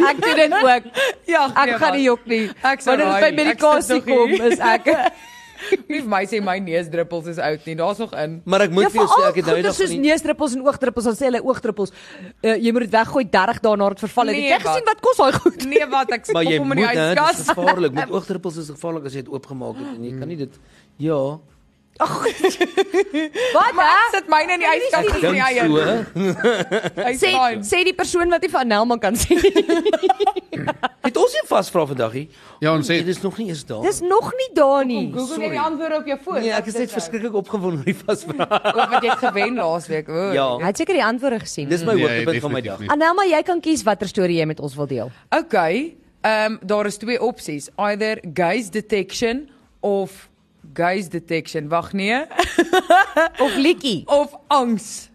Ek doen dit ook.
Ja,
Ek gaan nie jok nie.
Ek sal
Wanneer dit by
raai nie. Ek
medikasie
sit nog
kom
hier.
is ek
Nie vir my sê my neusdruppels is oud nie. Daar's nog in.
Maar ek moet
Ja,
vir jou sê
veral
ek het nou
goeie
nog
soos
nie-
neusdruppels en oogdruppels, dan sê hulle oogdruppels, uh, jy moet dit weggooi 30 dae nadat dit verval het.
Nee,
Nee, het jy gesien wat kos daai goed?
Nee, wat ek
Maar jy
kom
moet
in die
nou, dit is
yskas.
gevaarlik. Met oogdruppels is gevaarlik as jy dit oopgemaak het en jy kan nie dit ja,
Wat
Maar ek
hè?
sit myne in die yskas
ek
in die
dink so.
eie.
hè.
Hy's
Sê
fyn.
sê die persoon wat nie van Nelma kan sien.
Het ons nie vasvra vandaagie?
Ja, ons het.
dit is nog nie eens daar.
Dis nog nie daar nie.
Google
sorry.
net die antwoord op jou foon.
Nee, ek is
nou.
net verskrik opgewonde oor die vasvra.
oor wat jy het gewen laasweek. O.
Ja.
Hy het seker die antwoorde gesien.
Dis my
Nee,
hoogtepunt van my
definitief
dag.
nie.
Anelma, jy kan kies watter storie jy met ons wil deel.
Okay. Ehm um, daar is twee opsies, either gaze detection of gaze detection. Wag nee,
Of liedjie.
of angs.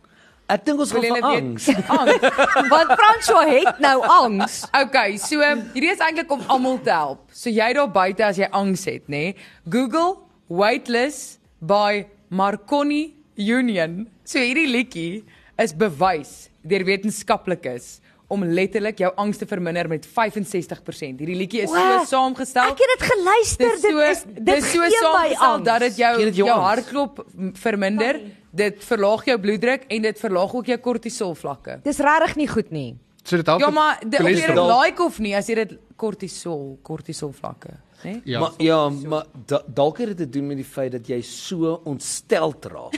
Ek dink ons
Wil
gaan
julle
vir angs.
weet? Angs.
Want François het nou angs.
Okay, so ehm, hierdie is eintlik om almal te help. So jy daar buite as jy angs het, nê? Nee? Google Waitlist by Marconi Union. So hierdie liedjie is bewys deur wetenskaplikes om letterlik jou angs te verminder met 65%. Hierdie liedjie is
Wow.
so saamgestel.
Ek het dit geluister.
Dis
Dit
so
is dit
dis so
gee my
saamgestel
angs.
dat dit jou
Gee dit jou
jou,
angs?
hartklop m- verminder, dit verlaag jou bloeddruk en dit verlaag ook jou kortisol vlakke.
Dis regtig nie goed nie.
So dit help.
Ja, maar de, of jy dit
cholesterol.
like of nie, as jy dit kortisol, kortisol vlakke, né? Nee?
Ja.
Maar ja, maar da- dalk het dit te doen met die feit dat jy so ontsteld raak.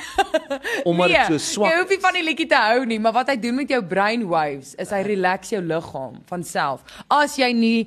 Omdat dit so swak.
Nee, jy hoef nie van die liedjie te hou nie, maar wat hy doen met jou brainwaves is hy relax jou liggaam van self. As jy nie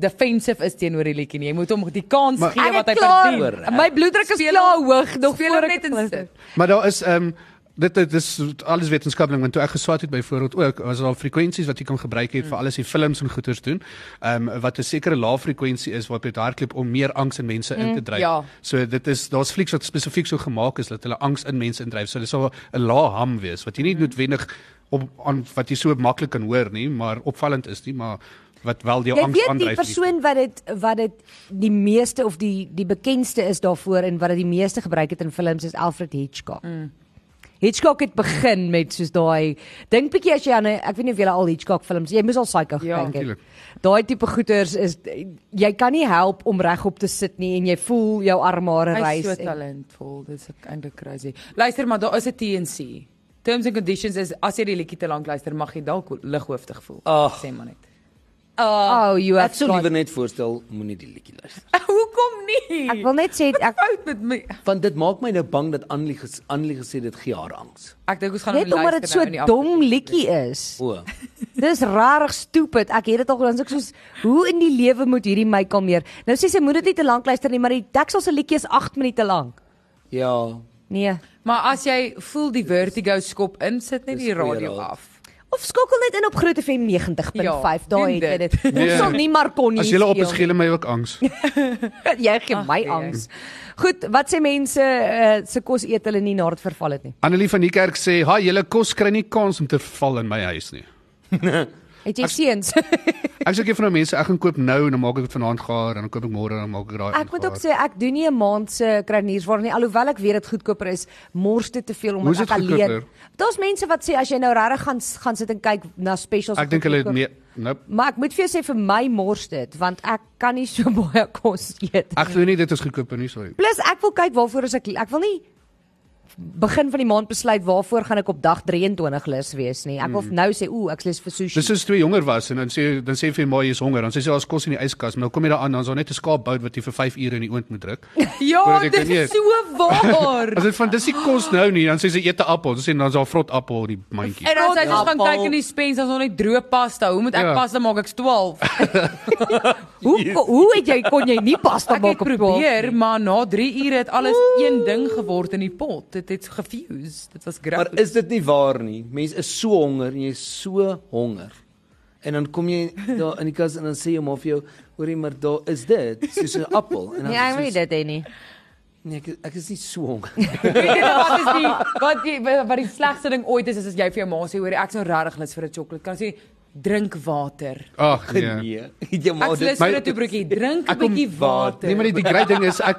defensive is teenoor die liedjie nie, jy moet hom die kans
Maar-
gee
Ek
wat
het
hy
klaar.
verdien.
My bloeddruk is
Speel
klaar
hom-
hoog nog
Speel hom
voor ek
net in sit.
Maar daar is ehm um, dit dit is alles wetenskaplik want toe ek geswat het byvoorbeeld ook was daar frekwensies wat jy kan gebruik het vir
Mm.
alles die films en goeters doen. Ehm um, wat 'n sekere lae frekwensie is waarop dit hardloop om meer angs in mense in
Mm,
te dryf.
ja.
So dit is daar's flieks wat spesifiek so gemaak is dat hulle angs in mense indryf. So dit sal 'n lae ham wees wat jy
Mm.
nie noodwendig op aan wat jy so maklik kan hoor nie, maar opvallend is nie, maar wat wel jou
Jy
angs
weet
aandryf.
die persoon wat dit wat dit die meeste of die die bekendste is daarvoor en wat dit die meeste gebruik het in films is Alfred Hitchcock. Mm. Hitchcock het begin met soos daai dink bietjie as jy aan 'n ek weet nie of jy al Hitchcock films jy moes al Psycho
Ja,
gekyk het.
tuurlijk.
Daai tipe goeters is jy kan nie help om regop te sit nie en jy voel jou armare
Hy's
rys.
so
en-
talentvol. Dis ek eintlik crazy. Luister, maar daar is 'n TNC. Terms and conditions is as jy die liedjie te lank luister, mag jy dalk lighoofdig voel.
Ag.
Sê maar net.
oh, you have
Ek sou
got-
liewer net voorstel moenie die liedjie luister.
Hoekom nie?
Ek wil net sê
Wat
ek
fout met my.
Want dit maak my nou bang dat Annelie ges, Annelie gesê dit gee haar angs.
Ek dink ons gaan
net
nou
omdat dit
luister nou
so
in die
dom
aflewering.
liedjie is.
O.
Dis rarig stupid. Ek het dit al gedans ek soos hoe in die lewe moet hierdie my kalmeer. Nou sê sy moet dit nie te lank luister nie, maar die Texel se liedjie is 8 minute lank.
Ja.
Nee.
Maar as jy voel die vertigo skop in, sit net
Dis
die
goeie
radio
raad.
af.
Of skakel net in op Groot FM 90.5. Ja,
Ja,
Daar
doen
het jy dit.
dit.
Ons sal nie maar kon nie.
Nee. As jy op
speel
is gee hulle my ook angs.
nie. jy gee my
nee.
angs. Goed, wat sê mense uh, se kos eet hulle nie nadat verval het nie.
Annelie van die kerk sê, "Ha, julle kos kry nie kans om te val in my huis nie."
Het Het jy seuns?
Ek sê ek vir nou mense, ek gaan koop nou en dan maak ek dit vanaand gaar en dan koop ek môre en dan maak ek daai.
Ek moet ook sê ek doen nie 'n maand se kruideniersware nie alhoewel ek weet dit goedkoper is, mors dit te veel om
Hoe is
ek
dit
alleen.
goedkoper?
Daar's mense wat sê as jy nou regtig gaan gaan sit en kyk na specials
Ek
of
dink
goed
hulle
goedkoop-
nee, nope.
Maar ek moet vir jou sê vir my mors dit want ek kan nie so baie kos eet.
Ek glo nie dit is goedkoper nie, sorry.
Plus ek wil kyk waarvoor is ek ek wil nie begin van die maand besluit waarvoor gaan ek op dag 23 lus wees nie. Ek wil nou sê ooh, ek lus vir sushi.
Mm. Dis soos twee jonger was en dan sê dan sê vir my jy's honger, dan sê sy daar's kos in die yskas, maar dan kom jy daar aan, dan's daar net 'n skaapbout wat jy vir 5 ure in die oond moet druk.
Ja,
Voordat ek
dit
kan
is
eet.
so waar.
As dit van dis die kos nou nie, dan sê sy eet 'n appel, dan sê dan's daar vrot appel in die mandjie.
En as hy net gaan
Appel.
kyk in die spens as nog net droë pasta, hoe moet ek
Ja.
pasta maak? Ek's 12.
Hoe ko- hoe het jy kon jy nie pasta
Ek het
maak op twaalf nie?
probeer, maar na 3 ure het alles een ding geword in die pot. Dit het gefused. Dit was
Maar
groot.
is dit nie waar nie? Mense is so honger en jy is so honger. En dan kom jy daar in die kas en dan sê jy maar vir jou, hoorie maar daar is dit, soos 'n appel en dan
Nee, ek wil
soos-
nie dit hê nie.
Nee, ek, ek is nie so honger.
Weet jy wat is die wat die wat die slegste ding ooit is is as jy vir jou ma sê hoor ek's nou regtig lus vir 'n sjokolade. Kan sy drink water.
Ag nee.
Nee. Ja, maar
Ek lus
dit
my-
vir 'n toebroodjie. Drink 'n
Ek kom-
bietjie water.
Nee, maar die, die groot ding is ek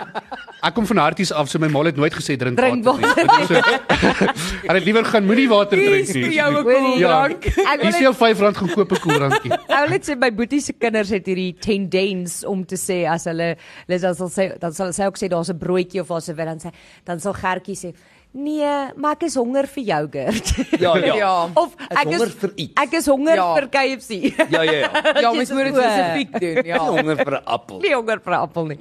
ek kom van harties af, so my ma het nooit gesê drink,
Drink
water. nie. So, Hulle het liewer gaan moenie water
Hier ja. is
drink nie.
vir jou 'n
Hoorie.
koeldrank.
Ek wil
Dis
net
jou R5 goedkope koeldrankie.
Ou net sê my boetie se kinders het hierdie tendens om te sê as hulle hulle dan sal sê dan sal sy ook sê daar's 'n broodjie of daar's 'n wil dan sê dan sal Gertjie sê nee, maar ek is honger vir yougurt.
Ja, ja.
Ja.
of
Ek
ek
honger
is
vir iets.
ek is honger
Ja.
vir KFC.
Ja, ja, ja.
Ja,
Dit
mens
is
moet dit
oor.
spesifiek doen.
Ek is
Ja.
honger vir 'n appel.
nie honger vir 'n appel nie.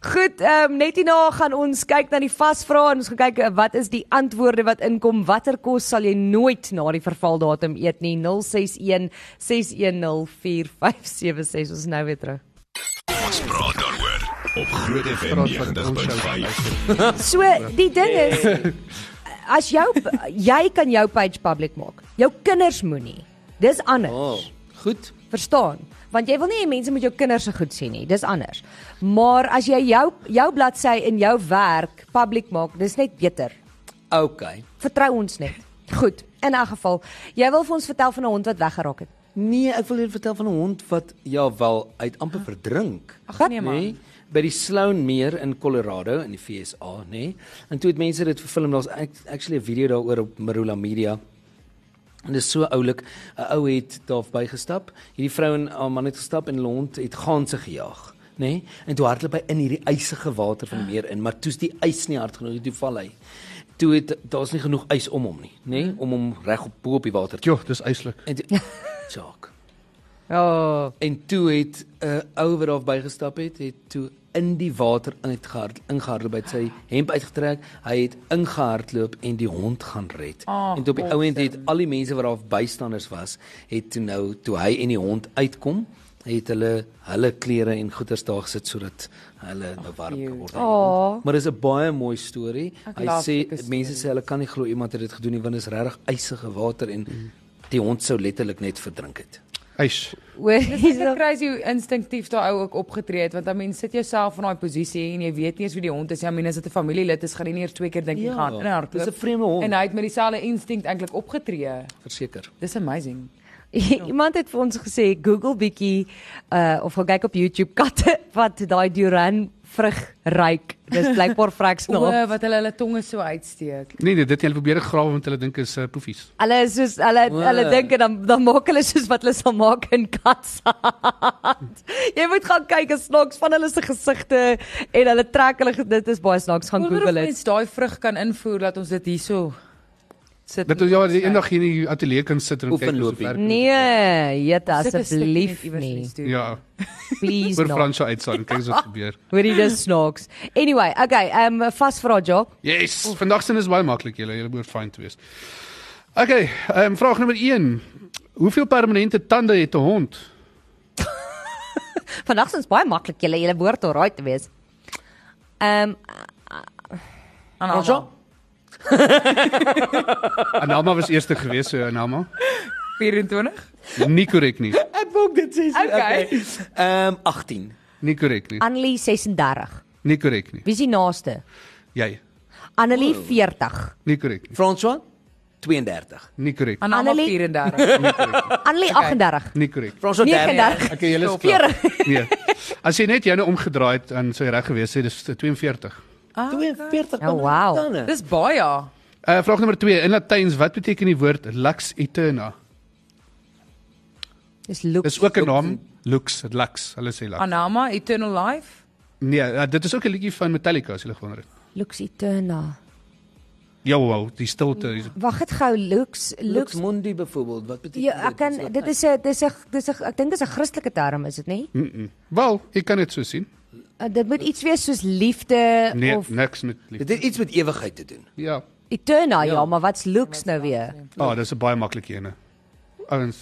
Goed, ehm net hierna gaan ons kyk na die vasvrae en ons gaan kyk eh, wat is die antwoorde wat inkom. Watter kos sal jy nooit na die vervaldatum eet nie? 061 610 4576 ons is nou weer terug.
Praat daaroor op Groot FM
Praat van ons show.
90.5.
So die ding is as jou jy kan jou page public maak. Jou kinders moenie. Dis anders.
Oh, goed.
Verstaan? Want jy wil nie hê mense moet jou kinders se goed sien nie. Dis anders. Maar as jy jou jou bladsy in jou werk publiek maak, dis net beter.
Okay.
Vertrou ons net. Goed. In 'n geval, jy wil vir ons vertel van 'n hond wat weggeraak het.
Nee, ek wil julle vertel van 'n hond wat ja wel uit amper verdrink.
Ag, nee, man.
by die Sloan Meer in Colorado in die VSA, nê. Nee. En toe het mense dit verfilm, daar's act- actually 'n video daaroor op Marula Media. En dit is so oulik. 'n Ou het daar bygestap. Hierdie vrou en haar man het gestap en hulle hond het ganse gejaag, nê? Nee? En toe hardloop hy in hierdie ysige water van die meer in, maar toe's die ys nie hard genoeg nie, toe val hy. Toe het daar's nie genoeg ys om hom nie, nê, nee? om hom reg op bo op die water. te-
Jo, dis eislik.
En toe, Jacques
Ja.
En toe het 'n uh, ou wat daar bygestap het, het toe in die water ingehard ingehardloop, hy het sy hemp uitgetrek, hy het ingehardloop en die hond gaan red.
Ah,
en toe op die ou end het al die mense wat daar bystanders was, het toe nou toe hy en die hond uitkom, het hulle hulle klere en goeder daar gesit sodat hulle nou warm kan word. aan die hond.
Aw.
Maar dis 'n baie mooi storie.
Ah. Ek
Hy
love
sê
sulke
mense sê hulle kan nie glo iemand het dit gedoen nie want dit is regtig ysige water en
Mm.
die hond sou letterlik net verdrink het.
Eis.
Hoor
Dis so
hierso.
crazy hoe instinktief daai ou ook opgetree het want I mean sit jouself in daai posisie en jy weet nie eens wie die hond is nie. Ja, I mean as dit 'n familielid is, gaan jy nie eers twee keer dink jy
Ja,
gaan in en hardloop.
dis 'n vreemde hond.
En hy het met dieselfde instinct eintlik opgetree.
Verseker.
Dis amazing.
Iemand het vir ons gesê Google bietjie uh of gaan kyk op YouTube katte wat daai Duran vrug ruik. Dis blykbaar vrek
O,
snaaks.
eh, wat hulle hulle tonge so uitsteek.
Nee nee, dit het hulle probeer grawe want hulle dink is uh, poefies.
Hulle is soos hulle
Wow.
hulle dink en dan dan maak hulle soos wat hulle sal maak in katsaand. Jy moet gaan kyk as snaaks van hulle se gesigte en hulle trek hulle ge- dit is baie snaaks gaan
Wonder of
Google dit.
mens daai vrug kan invoer dat ons dit hierso sit.
Dat ons ja die eendag hier in die ateljee kan sit en kyk
Oefen
hoe
loopie.
ver.
Nee, jeta
Sulke stuk
asseblief
net iewers
nie.
iets doen.
Ja,
Please
oor
not.
Fransjo uitsaai en kyk as wat gebeur.
Hoorie dis snaaks. Anyway, okay, ehm um, vas vra Jock.
Yes, vandag se is baie maklik julle, julle moet fyn te wees. Okay, ehm um, vraag nommer 1. Hoeveel permanente tande het 'n hond?
Vandag is ons baie maklik julle julle woord alraai te wees. Ehm um,
Aan
Ons ja.
almal.
Anelma was eerste gewees, so Anelma.
24.
Nie korrek nie.
Ek wou ook dit sê. so,
Okay.
okay. Ehm um, 18.
Nie korrek nie.
Annelie 36.
Nie korrek nie.
Wie is die naaste?
Jy.
Annelie 40.
Nie korrek nie.
François? 32.
Nie korrek.
Aan almal
Annelie?
34.
Annelie 38.
Nie korrek.
Vra so 30.
39.
Okay, julle is klaar.
40.
Nee. As jy net joune omgedraai het, dan sou jy reg gewees het, dis eh, 42.
Ah,
42.
Oh, wow.
Dis
Dis baie.
Uh vraag nommer 2 in Latyns, wat beteken die woord lux eterna?
Dis Luke.
Dis ook 'n naam, lux, lux, hulle sê lux.
Anama Eternal Life.
Nee, uh, dit is ook 'n liedjie van Metallica as jy gewonder het.
Luke Eterna.
Ja, wow, die stilte. die-
Wag dit gou Luke's
Lux
Luke's
Mundi byvoorbeeld, wat beteken
Ja, ek kan dit is 'n dis 'n dis 'n ek dink dis 'n Christelike term is dit nie?
Mm -mm. Wel, jy kan dit so sien.
Uh, dit moet iets wees soos liefde
Nee,
of
niks met lief.
Dit het iets met ewigheid te doen.
Ja.
Eterna ja,
Ja.
maar wat's Luke's nou weer?
Ah, oh, dis 'n baie maklike ene. Ouens,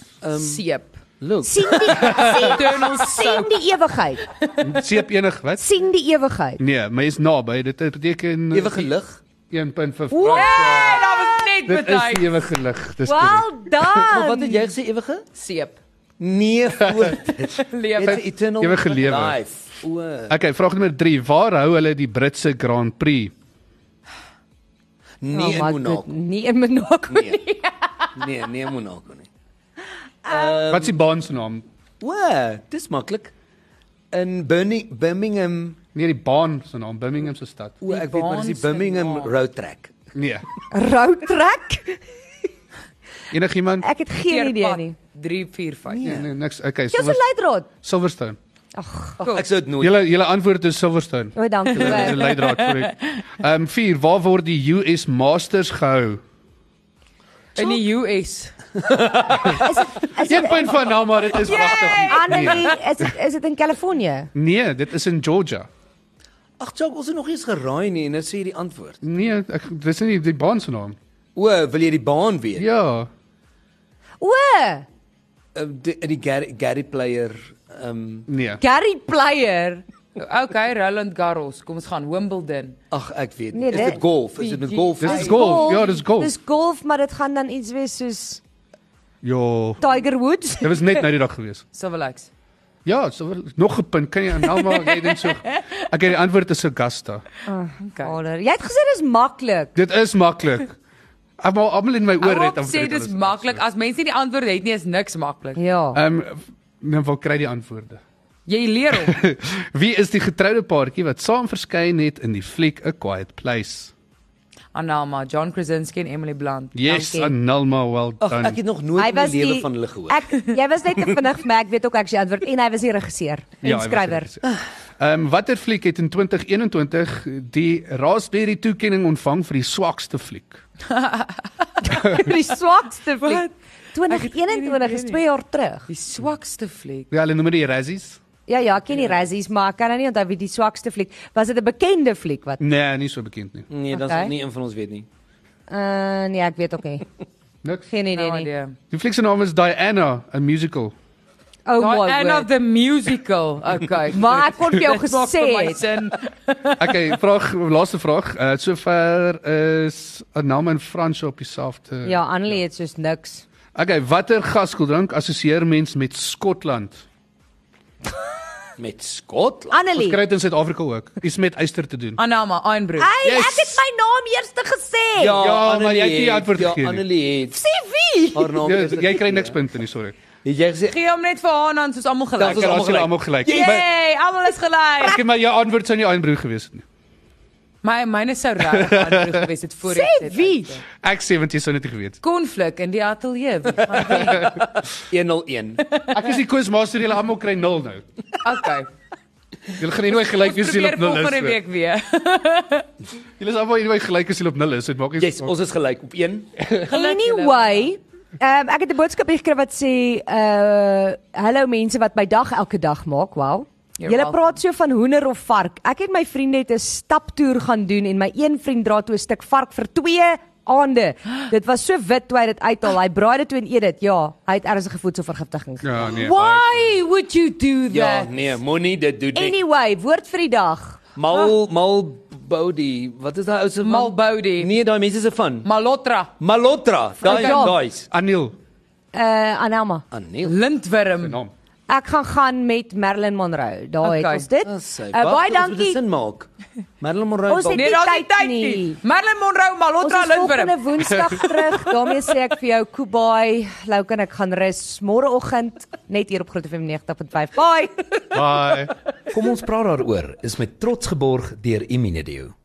Seep.
Lux.
sien die
Eternal
sien
Soap.
die ewigheid.
seep enig wat?
Sien die ewigheid.
Nee, maar jy's naby. Dit beteken
Ewige lig.
1.5.
Wow,
Hey, daar was net
Dit is
baie.
die ewige lig. Dis
well
korrek.
Maar wat
done.
het jy gesê ewige?
Seep.
Nee, voor dit. It's
Lewe.
eternal
Ewige lewe.
life. O.
Okay, vraag nommer 3. Waar hou hulle die Britse Grand Prix?
Nee,
Nou, maar
in
dit-
Monaco.
nie in Monaco. nie.
Nee.
Ja.
Nee, nee in Monaco nie.
Um, Wat is die baan se naam?
O, dis maklik. In Birni- Birmingham.
Nee, die baan se naam, Birmingham se stad.
O,
Die
ek weet maar dis die
baan se
Birmingham
naam.
Road Track.
Nee.
Roadtrek?
Enigiemand?
Ek het geen idee nie.
3 4 5.
Nee, nee, niks. Okay,
Jy's 'n
Silver,
leidraad.
Silverstone.
Ek sou dit nooit.
Julle julle antwoord is Silverstone.
O, dankie.
Dit is 'n
hoor.
leidraad vir ek. Ehm 4. Waar word die US Masters gehou?
In die US.
Is
Een
dit
punt van nou maar dit is pragtig.
Annelie, is dit is dit in Kalifornië?
Nee, dit is in Georgia.
Ag, Jacques, ons het nog eens geraai nie en nou sê jy die antwoord.
Nee, ek dis nie die baan se naam.
O, wil jy die baan weet?
Ja.
O,
Uh, die, die Gary, Gary player ehm um,
Nee.
Gary Player.
Okay, Roland Garros. Kom ons gaan Wimbledon.
ag ek weet
Nee,
nie.
dit-
is dit golf? Is dit met golf?
Dis
Ai,
golf. Ja, dis golf.
Dis golf, maar dit gaan dan iets wees soos
Ja.
Tiger Woods.
Dit was net nou die dag gewees.
Silver Lakes.
Ja, so wel- nog 'n punt. Kan jy aan Alma jy dink so. Ek het die antwoord is Augusta.
Okay.
Vader, jy het gesê dis maklik.
Dit is maklik. Almal almal in my oor het
Ek sê
dit
dis
alles.
maklik. As mense nie die antwoord het nie, is niks maklik.
Ja.
Ehm nou wil kry die antwoorde.
Jy leer hom.
Wie is die getroude paartjie wat saam verskyn het in die fliek A Quiet Place?
Anama, John Krasinski en Emily Blunt.
Yes,
Dankie.
Annelma well
Ag, ek
done. Ja,
het nog nooit
Hy
in my
was
lewe
die-
van hulle gehoor.
Ek jy was net te vinnig, maar ek weet ook ek se antwoord en hy was die regisseur en
Ja,
ja,
hy was
skrywer.
die regisseur. Ehm watter fliek het in 2021 die Raspberry toekenning ontvang vir die swakste fliek?
Die swakste fliek.
Ek het geen
2021
idee nee,
is
nie.
2 jaar terug.
Die swakste fliek.
Ja, hulle noem dit die Razzies.
Ja ja, ek ken die Razzies, maar ek kan nou nie onthou wie die swakste fliek was. Dit 'n bekende fliek wat.
Nee, nie so bekend nie.
Nee, dan
Okay.
sal nie een van ons weet nie.
Uh nee, ek weet ook nie.
Niks.
Geen idee
No
nie.
idea.
Die fliek se naam is Diana, 'n musical.
Oh
Daai
my
end of
god.
the musical. Okay.
Maar ek kon vir jou
Dit maak vir
gesê
my
het.
sin.
Okay, vraag laaste vraag. Uh sover is 'n naam in Frans op dieselfde.
Ja, Annelie het soos niks.
Okay, watter gaskoeldrank assosieer mens met Skotland?
Met Skotland.
Ons
Annelie.
kry dit in Suid-Afrika ook. Iets met yster te doen.
Anama, Einbroek.
Hey,
Yes.
yes. ek het my naam eers te gesê. Ja.
Ja, maar jy het nie
Annelie
antwoord
ja,
gegee nie.
Annelie het
Sê wie?
haar naam.
Ja,
eers
jy kry
gegee.
niks punte nie, sorry.
Het jy gesê
Gee hom net vir haar en dan soos almal
Ons
gelyk.
is
almal gelyk.
almal gelyk. Maar
Yay, almal is gelyk.
ek het my jou antwoord sou nie aanbroek gewees het nie.
My myne sou reg aan reg gewees het voor
Sê wie?
Ek sê want jy sou net nie geweet.
Konflik in die ateljee. Wie gaan wen?
101?
Ek is die quizmaster, julle almal kry 0 nou.
Okay.
Julle gaan nie nooit gelyk wees as julle
nou
Probeer
op 0
volgende
is.
week weer.
Julle is almal nooit gelyk as julle op 0 is. Dit maak nie
Yes, ons is gelyk op 1.
Anyway,
ja.
um, ek het 'n boodskap hier gekry wat sê uh hallo mense wat my dag elke dag maak. Wow.
You're
Julle
welcome.
praat so van hoender of vark. Ek het my vriende het 'n staptoer gaan doen en my een vriend dra toe 'n stuk vark vir 2 aande. Dit was so wit toe hy dit uithaal. Hy braai dit toe en eet dit. Ja, hy het ernstige voedselvergiftiging. gekry.
Ja, nee.
Why would you do
Ja,
that?
nee, moenie dit doen nie.
Anyway, woord vir die dag.
Mal Mal Body. Wat is daai ou se naam?
Malbody.
Nee, daai mense se van.
Malotra,
Malotra. Daai
Ja.
daai's.
Anil,
Uh Anelma.
Annelie.
lintworm,
naam.
Ek gaan gaan met Marilyn Monroe. Daar
Okay.
het ons dit.
Dis Ah, sy.
Uh,
Wag,
baie
dat ons dit
dankie.
Sin maak. Marilyn Monroe.
Ons het-
bal-
Nee, daar's nie
tyd
tyd nie.
nie.
Marilyn Monroe,
Ons
Malotra
is volgende
Lindberg.
Woensdag terug. Daarmee sê ek vir jou Kubai, Louken ek gaan rus môreoggend net hier op Groot FM 90.5. Bye.
Bye.
Kom ons praat daaroor is met trots geborg deur Imunedio.